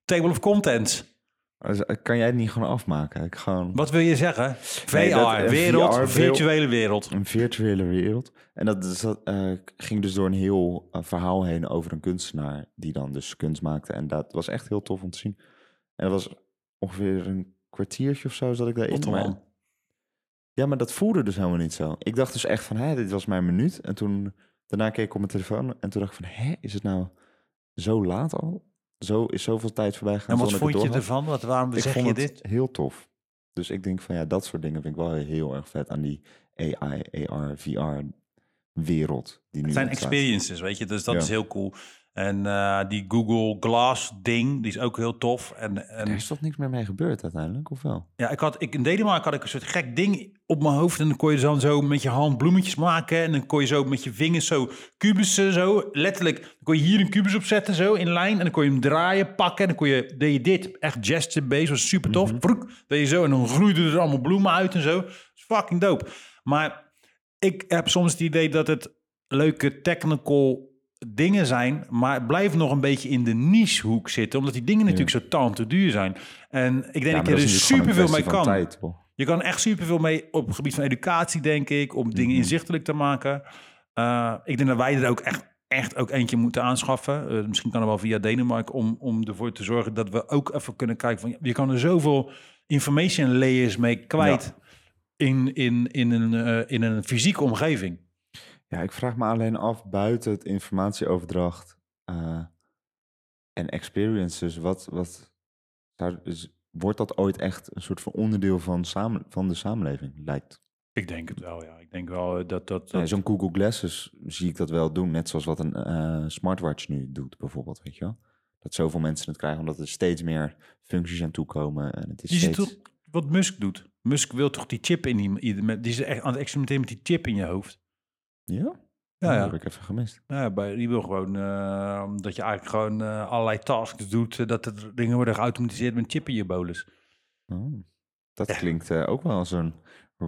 S1: table of contents.
S2: Dus, eh, Kan jij het niet gewoon afmaken? Ik gewoon
S1: Wat wil je zeggen? VR,
S2: Nee, dat- eh, een
S1: wereld,
S2: VR
S1: virtuele wereld.
S2: een virtuele wereld. En dat, is dat eh, ging dus door een heel eh, verhaal heen over een kunstenaar die dan dus kunst maakte. En dat was echt heel tof om te zien. En dat was ongeveer een kwartiertje of zo zat ik daarin.
S1: Otto
S2: maar-
S1: Wan.
S2: Ja, maar dat voelde dus helemaal niet zo. Ik dacht dus echt van, hé, dit was mijn minuut. En toen, daarna keek ik op mijn telefoon en toen dacht ik van, hé, is het nou zo laat al? Zo is zoveel tijd voorbij gegaan.
S1: En wat
S2: zonder dat ik
S1: vond je
S2: het doorhad.
S1: ervan? Wat, waarom
S2: Ik
S1: zeg
S2: vond
S1: je
S2: het
S1: dit?
S2: heel tof. Dus ik denk van, ja, dat soort dingen vind ik wel heel erg vet aan die AI, AR, VR wereld. Die nu
S1: Het zijn
S2: ontstaat.
S1: experiences, weet je. Dus dat
S2: Ja.
S1: is heel cool. En eh, die Google Glass ding, die is ook heel tof. En, en
S2: Er is toch niks meer mee gebeurd uiteindelijk, of wel?
S1: Ja, ik had, ik, in Denemarken had ik een soort gek ding op mijn hoofd. En dan kon je dan zo met je hand bloemetjes maken. En dan kon je zo met je vingers zo kubussen, zo letterlijk. Dan kon je hier een kubus opzetten, zo in lijn. En dan kon je hem draaien, pakken. En dan kon je, deed je dit. Echt gesture based, was super tof. Vroek, deed je zo. En dan groeiden er allemaal bloemen uit en zo. Dat is fucking dope. Maar ik heb soms het idee dat het leuke technical dingen zijn, maar het blijft nog een beetje in de nichehoek zitten, omdat die dingen natuurlijk zo taam te duur zijn. En ik denk
S2: Ja,
S1: dat
S2: maar
S1: je
S2: dat
S1: er
S2: is natuurlijk gewoon een
S1: superveel mee
S2: kwestie van
S1: kan.
S2: tijd, hoor.
S1: Je kan echt superveel mee op het gebied van educatie, denk ik. Om
S2: Mhm.
S1: dingen inzichtelijk te maken. Eh, ik denk dat wij er ook echt, echt ook eentje moeten aanschaffen. Eh, misschien kan er wel via Denemarken. Om, om ervoor te zorgen dat we ook even kunnen kijken. Van, je kan er zoveel information layers mee kwijt. In, in, in, een, eh, in een fysieke omgeving.
S2: Ja, ik vraag me alleen af buiten het informatieoverdracht eh, en experiences, wat, wat zou- is- wordt dat ooit echt een soort van onderdeel van, samen, van de samenleving? Lijkt.
S1: Ik denk het wel, ja. Ik denk wel eh, dat dat... dat
S2: Nee, Zo'n Google Glasses zie ik dat wel doen, net zoals wat een eh, smartwatch nu doet, bijvoorbeeld, weet je wel? Dat zoveel mensen het krijgen, omdat er steeds meer functies aan toekomen. En het is
S1: je ziet
S2: steeds...
S1: toch wat Musk doet. Musk wil toch die chip in die... ieder- met- Die is echt aan het experimenteren met die chip in je hoofd.
S2: Ja?
S1: Ja,
S2: Dat
S1: ja.
S2: heb ik even gemist.
S1: Nou Ja, bij, die wil gewoon eh, dat je eigenlijk gewoon eh, allerlei tasks doet. eh, dat er dingen worden geautomatiseerd met chip in je bolus.
S2: Oh, Dat klinkt eh, ook wel als een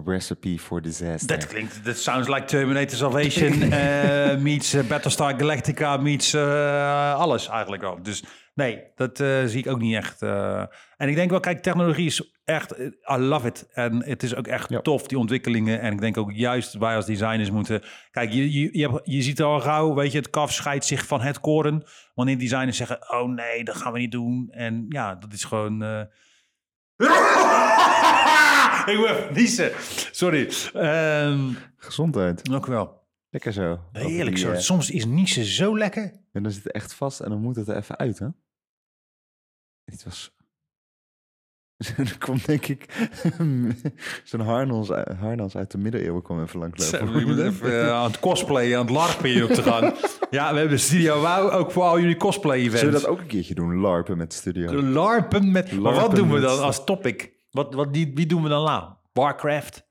S2: recipe for disaster.
S1: Dat klinkt, dat sounds like Terminator Salvation eh, meets eh, Battlestar Galactica meets eh, alles eigenlijk al. Dus nee, dat eh, zie ik ook niet echt. eh. en ik denk wel, kijk, technologie is echt, eh, I love it. En het is ook echt
S2: Ja.
S1: tof, die ontwikkelingen. En ik denk ook juist wij als designers moeten... Kijk, je, je, je, hebt- je ziet al gauw, weet je, het kaf scheidt zich van het koren. Wanneer designers zeggen, oh nee, dat gaan we niet doen. En ja, dat is gewoon... eh, ik wil even niezen. Sorry. Ehm,
S2: Gezondheid.
S1: ook wel.
S2: Lekker zo. Over
S1: Heerlijk
S2: die,
S1: zo.
S2: eh,
S1: Soms is niezen zo lekker.
S2: en dan zit het echt vast en dan moet het er even uit, hè? Dit was... er komt denk ik zo'n harnas, harnas uit de middeleeuwen kwam even langslopen.
S1: Je moet even eh, aan het cosplayen, aan het larpen hier op te gaan. ja, we hebben Studio Wauw ook voor al jullie
S2: Zullen we
S1: cosplay-events.
S2: dat ook een keertje doen? Larpen met de studio.
S1: Larpen met... maar wat
S2: Larpen
S1: doen we
S2: met-
S1: dan als topic? Wat, wat, die, wie doen we dan nou? Warcraft,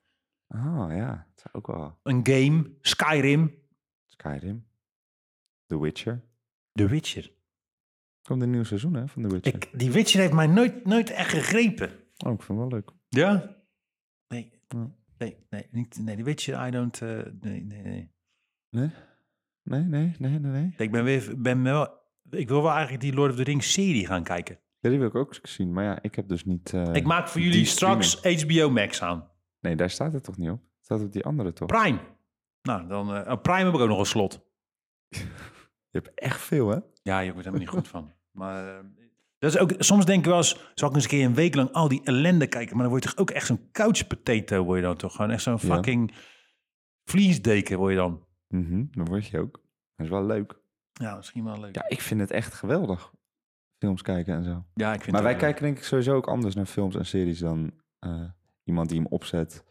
S2: Oh ja, dat zou ook wel.
S1: een game, Skyrim,
S2: Skyrim. The Witcher.
S1: The Witcher.
S2: Komt een nieuw seizoen hè, van The Witcher.
S1: Ik, die Witcher heeft mij nooit, nooit echt gegrepen.
S2: Oh, ik vind het wel leuk.
S1: Ja? Nee.
S2: Ja.
S1: Nee, nee, niet, nee, The Witcher, I don't... eh, nee, nee, nee.
S2: Nee? Nee, nee, nee, nee, nee.
S1: Ik ben weer, ben wel, ik wil wel eigenlijk die Lord of the Rings serie gaan kijken.
S2: Ja, die wil ik ook zien, maar ja, ik heb dus niet... eh,
S1: ik maak voor
S2: die
S1: jullie
S2: streaming.
S1: straks HBO Max aan.
S2: Nee, daar staat het toch niet op? Het staat op die andere toch?
S1: Prime. Nou, dan eh, oh, Prime heb ik ook nog een slot.
S2: Je hebt echt veel, hè?
S1: Ja, je wordt er helemaal niet goed van. Maar eh, dat is ook, soms denk ik wel eens, zal ik eens een keer een week lang al die ellende kijken, maar dan word je toch ook echt zo'n couch potato, word je dan toch gewoon echt zo'n
S2: Ja.
S1: fucking vliesdeken word je dan.
S2: Mhm, dat word je ook. Dat is wel leuk.
S1: Ja, misschien wel leuk. Ja,
S2: Ja, ik vind het echt geweldig. Films kijken en zo.
S1: ik vind
S2: Maar
S1: het
S2: wij
S1: wel leuk.
S2: kijken denk ik sowieso ook anders naar films en series dan eh, iemand die hem opzet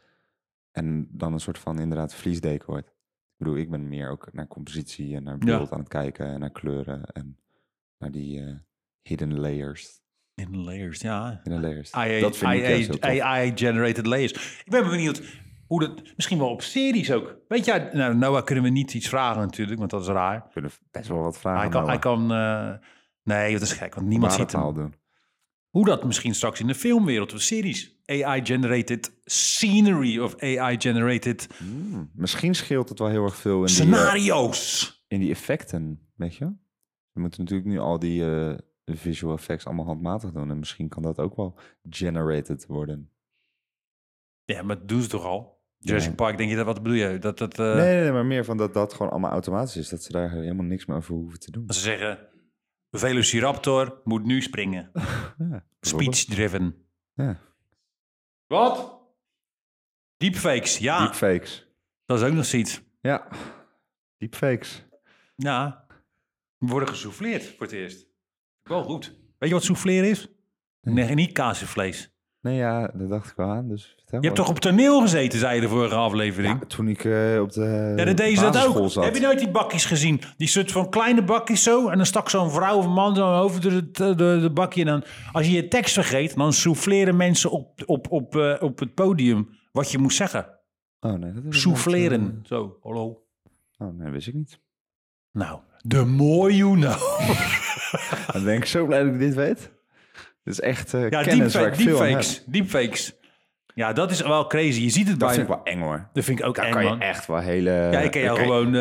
S2: en dan een soort van inderdaad vliesdeken wordt. Ik bedoel, ik ben meer ook naar compositie en naar
S1: Ja.
S2: beeld aan het kijken en naar kleuren en naar die eh, hidden layers.
S1: in layers, Ah, ja. ah,
S2: Hidden layers.
S1: AI,
S2: dat vind ik juist heel tof.
S1: generated layers. Ik ben benieuwd hoe dat misschien wel op series ook. Weet je, nou, Noah kunnen we niet iets vragen natuurlijk, want dat is raar.
S2: We kunnen best wel wat vragen.
S1: hij Ah, kan,
S2: Noah.
S1: hij kan eh, nee, dat is gek, want niemand ziet
S2: Barentaal
S1: hem.
S2: doen.
S1: Hoe dat misschien straks in de filmwereld of series AI generated scenery of AI generated
S2: Hmm, Misschien scheelt het wel heel erg veel in die, eh,
S1: scenario's.
S2: in die effecten, weet je? We moeten natuurlijk nu al die eh, visual effects allemaal handmatig doen. En misschien kan dat ook wel generated worden.
S1: Ja, maar dat doen ze toch al? Jurassic Park, denk je dat? Wat bedoel je? Dat dat eh,
S2: nee, nee, nee, maar meer van dat dat gewoon allemaal automatisch is. Dat ze daar helemaal niks meer over hoeven te doen.
S1: dat ze zeggen Velociraptor moet nu springen.
S2: Ja, bijvoorbeeld.
S1: Speech driven.
S2: Ja.
S1: Wat? Deepfakes, ja.
S2: Deepfakes.
S1: Dat is ook nog zoiets.
S2: Ja, deepfakes.
S1: Ja. We worden gesouffleerd voor het eerst. Wel goed. Weet je wat souffleren is? Nee, niet kaasvlees.
S2: Nee, ja, dat dacht ik wel aan. Dus vertel
S1: Je hebt
S2: maar.
S1: toch op toneel gezeten, zei je de vorige aflevering?
S2: Ja, toen ik eh, op de
S1: Ja, dat deden ze dat
S2: basisschool
S1: ook.
S2: zat.
S1: Heb je nou nooit die bakjes gezien? Die soort van kleine bakjes zo. En dan stak zo'n vrouw of een man zo'n hoofd door het eh, door de bakje. En dan, als je je tekst vergeet, dan souffleren mensen op, op, op, eh, op het podium wat je moest zeggen.
S2: Oh, nee, dat heb ik nooit, eh,
S1: Souffleren. Zo, hallo.
S2: Oh, nee, dat wist ik niet.
S1: Nou, de more you know.
S2: Dan ben ik zo blij dat ik dit weet. Dit is echt eh
S1: Ja,
S2: kennis waar
S1: deepfake,
S2: ik veel aan heb.
S1: deepfakes. Deepfakes. Ja, dat is wel crazy. Je ziet het
S2: Dat
S1: bij
S2: vind ik wel eng hoor.
S1: Dat vind ik ook
S2: Daar
S1: eng,
S2: kan je
S1: man.
S2: echt wel hele...
S1: Ja, ik ken jou gewoon... eh,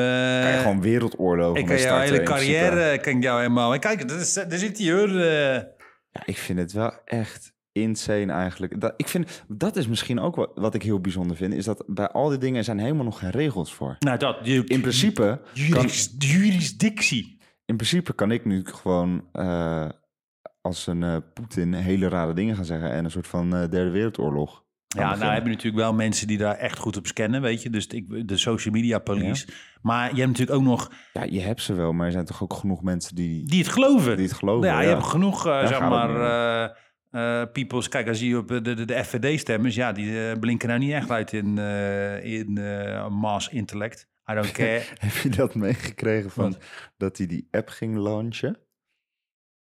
S2: kan je gewoon wereldoorlogen
S1: ik
S2: mee
S1: ken jouw
S2: starten,
S1: hele
S2: in principe.
S1: carrière, eh, ken ik jou helemaal. En kijk, dat is, daar zit hij hoor. eh.
S2: Ja, ik vind het wel echt insane eigenlijk. Dat, ik vind, dat is misschien ook wat, wat ik heel bijzonder vind. Is dat bij al die dingen zijn helemaal nog geen regels voor.
S1: Nou, dat. je-
S2: In principe, kan,
S1: Juris- Jurisdictie.
S2: in principe kan ik nu gewoon eh, als een eh, Poetin hele rare dingen gaan zeggen. En een soort van eh, derde wereldoorlog. gaan
S1: Ja, nou
S2: beginnen.
S1: heb je natuurlijk wel mensen die daar echt goed op scannen, weet je. Dus ik, de social media police. Maar je hebt natuurlijk ook nog
S2: ja, je hebt ze wel, maar er zijn toch ook genoeg mensen die,
S1: die het geloven.
S2: die het geloven.
S1: Nou ja, je hebt genoeg, eh, zeg
S2: Oh, gaat het
S1: maar,
S2: om,
S1: eh, eh, peoples. Kijk, als je op de, de, de FVD-stemmers, ja, die eh, blinken nou niet echt uit in, eh in eh, mass intellect. I don't care.
S2: Heb je dat meegekregen van dat hij die app ging launchen?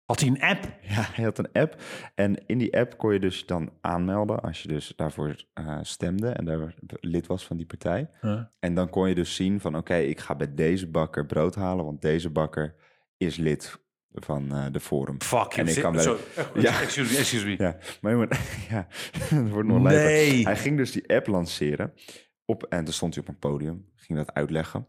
S1: Had hij een app?
S2: Ja, hij had een app. En in die app kon je dus dan aanmelden als je dus daarvoor eh, stemde en daar lid was van die partij. En dan kon je dus zien van oké, ik ga bij deze bakker brood halen, want deze bakker is lid van eh, de Forum.
S1: Fuck you.
S2: En ik
S1: Zit-
S2: kan wel-
S1: Sorry.
S2: Ja.
S1: Excuse me, excuse me.
S2: Ja, maar jongen, ja, dat wordt nog lijper.
S1: Nee.
S2: Hij ging dus die app lanceren. Op, en toen stond hij op een podium, ging dat uitleggen.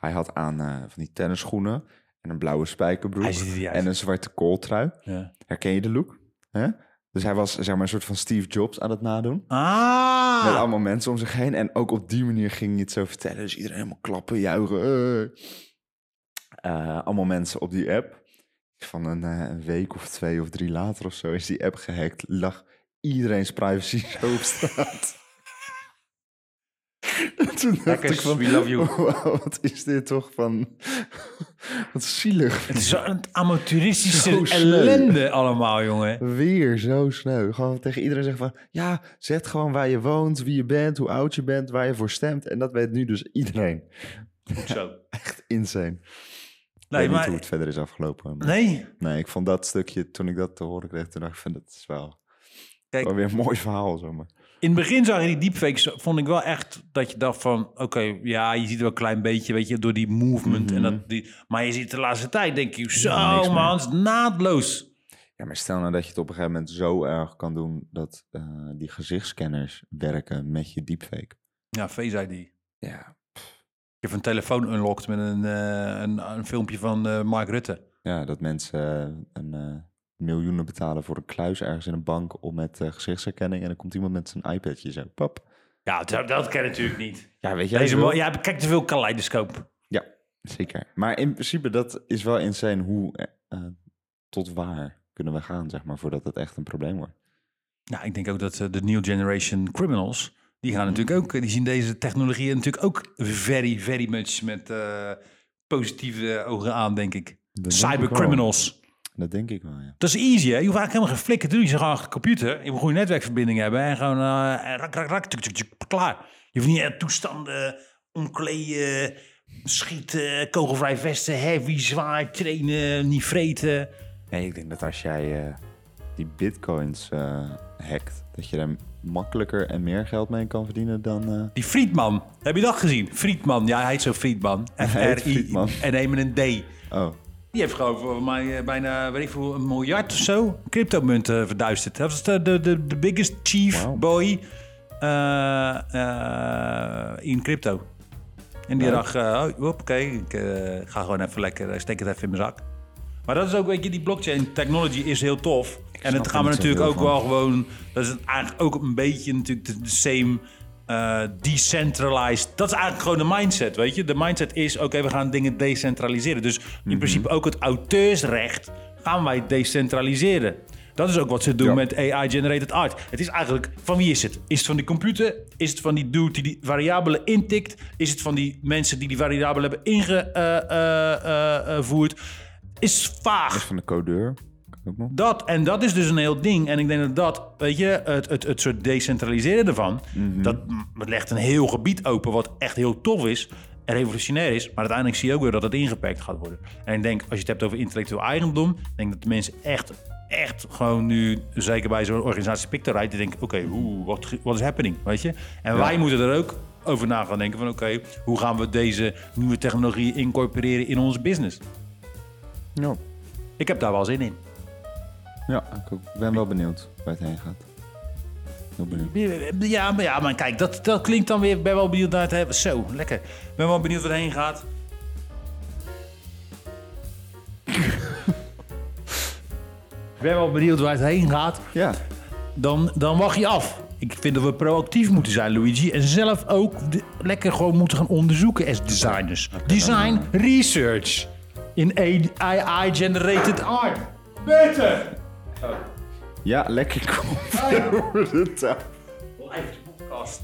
S2: Hij had aan eh, van die tennisschoenen en een blauwe spijkerbroek.
S1: Hij ziet er niet uit.
S2: En een zwarte kooltrui.
S1: Ja.
S2: Herken je de look? Hè? Dus hij was zeg maar een soort van Steve Jobs aan het nadoen. Met
S1: Ah!
S2: allemaal mensen om zich heen. En ook op die manier ging hij het zo vertellen. Dus iedereen helemaal klappen, juichen. eh. Eh, allemaal mensen op die app. Van een, eh, een week of twee of drie later of zo is die app gehackt. Lag iedereen's privacy zo op straat. En Toen dacht
S1: Hackers,
S2: ik van,
S1: we love you.
S2: "Wauw, wat is dit toch van... Wat zielig.
S1: Het is zo'n amateuristische
S2: Zo sneu.
S1: ellende allemaal, jongen.
S2: Weer zo sneu. Gewoon tegen iedereen zeggen van... Ja, zet gewoon waar je woont, wie je bent, hoe oud je bent, waar je voor stemt. En dat weet nu dus iedereen.
S1: Goed zo.
S2: Insane.
S1: Nee,
S2: ik weet niet
S1: maar...
S2: hoe het verder is afgelopen. maar-
S1: Nee,
S2: Nee, ik vond dat stukje, toen ik dat te horen kreeg, toen dacht ik van... Dat is wel,
S1: Kijk.
S2: wel weer een mooi verhaal, zomaar.
S1: in het begin zag je die deepfakes, vond ik wel echt dat je dacht van, oké, ja, je ziet er wel een klein beetje, weet je, door die movement en dat, die, maar je ziet de laatste tijd, denk je, zo
S2: niks meer.
S1: man, het is naadloos.
S2: Ja, maar stel nou dat je het op een gegeven moment zo erg kan doen... dat eh, die gezichtsscanners werken met je deepfake.
S1: Ja, Face ID. Je
S2: Ja.
S1: hebt een telefoon unlocked met een, eh, een, een filmpje van eh, Mark Rutte.
S2: Ja, dat mensen eh, een... eh, miljoenen betalen voor een kluis ergens in een bank om met eh, gezichtsherkenning en dan komt iemand met zijn iPadje zo pap
S1: Ja, dat, dat ken je natuurlijk niet.
S2: ja weet jij
S1: Deze
S2: wel?
S1: man, ja, kijk te veel kaleidoscoop.
S2: Zeker. Maar in principe, dat is wel insane hoe eh, eh, tot waar kunnen we gaan, zeg maar, voordat het echt een probleem wordt.
S1: Nou, ik denk ook dat eh, de new generation criminals, die gaan natuurlijk ook, eh, die zien deze technologieën natuurlijk ook very, very much met eh, positieve ogen aan, denk ik.
S2: Dat denk ik wel.
S1: Cybercriminals.
S2: Dat denk ik wel, ja.
S1: Dat is easy, hè? Je hoeft eigenlijk helemaal geen flikker te doen. Je zit gewoon achter de computer. Je moet een goede netwerkverbinding hebben. En gewoon eh, rak, rak, rak, tuk, tuk, tuk, klaar. Je hoeft niet eh, toestanden, omkleden, schieten, kogelvrij vesten, heavy, zwaar, trainen, niet vreten.
S2: Nee, ik denk dat als jij eh, die bitcoins eh, hackt, dat je daar makkelijker en meer geld mee kan verdienen dan... eh,
S1: Die Friedman, heb je dat gezien? Friedman, ja, hij heet zo Friedman.
S2: heet
S1: F-R-I
S2: Friedman.
S1: en een met een D.
S2: Oh,
S1: Die heeft gewoon voor mij eh, bijna, weet ik veel, een miljard of zo cryptomunten eh, verduisterd. Dat was de, de, de, de biggest chief
S2: Wauw.
S1: boy eh, eh, in crypto. En die
S2: Leuk.
S1: dacht, eh, oh, hoppakee, ik eh, ga gewoon even lekker, eh, steek het even in mijn zak. Maar dat is ook, weet je, die blockchain technology is heel tof. En
S2: snap
S1: dat
S2: er
S1: gaan we
S2: niet zo
S1: natuurlijk
S2: heel
S1: ook
S2: van.
S1: wel gewoon, dat is het eigenlijk ook een beetje natuurlijk de, de same eh, decentralized. Dat is eigenlijk gewoon de mindset, weet je. De mindset is, oké, we gaan dingen decentraliseren. Dus in principe ook het auteursrecht gaan wij decentraliseren. Dat is ook wat ze doen
S2: Ja.
S1: met AI-generated art. Het is eigenlijk, van wie is het? Is het van die computer? Is het van die dude die die variabelen intikt? Is het van die mensen die die variabelen hebben eh, ingevoerd? eh, is vaag.
S2: Van de codeur. Ook nog.
S1: Dat, en dat is dus een heel ding. En ik denk dat dat, weet je, het, het, het soort decentraliseren ervan... dat mm, het legt een heel gebied open wat echt heel tof is... en revolutionair is. Maar uiteindelijk zie je ook weer dat het ingeperkt gaat worden. En ik denk, als je het hebt over intellectueel eigendom... denk ik dat de mensen echt, echt gewoon nu... zeker bij zo'n organisatie Pictorite... die denken, oké, oeh, wat, ge- wat is happening, weet je? En wij moeten er ook over na gaan denken van... oké, hoe gaan we deze nieuwe technologie incorporeren in onze business?
S2: Ja.
S1: Ik heb daar wel zin in.
S2: ja, ik ook. Ik ben wel benieuwd waar het heen gaat. Heel benieuwd.
S1: Ja, maar, ja, maar kijk, dat, dat klinkt dan weer. Ben wel benieuwd naar het hebben. Zo, lekker. Ben wel benieuwd waar het heen gaat. ben wel benieuwd waar het heen gaat.
S2: Ja,
S1: Dan, dan wacht je af. Ik vind dat we proactief moeten zijn, Luigi. En zelf ook de- lekker gewoon moeten gaan onderzoeken als designers. Design research in AI-generated art. Beter!
S2: ja lekker koffie over de tafel.
S1: Live de podcast.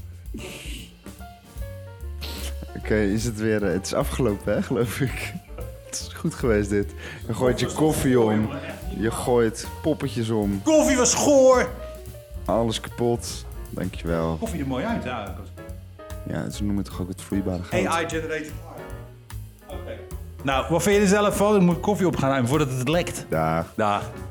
S2: Oké, is het weer... eh, het is afgelopen, hè, geloof ik. Het is goed geweest, dit. Je gooit je koffie om. Je gooit poppetjes om.
S1: Koffie was goor!
S2: Alles kapot. Dankjewel.
S1: Koffie er mooi uit, ja.
S2: Ja, ze noemen het toch ook het vloeibare goud?
S1: AI-generated Nou, wat vind je er zelf van? Ik moet koffie op gaan ruimen voordat het lekt.
S2: Daar.
S1: Dag.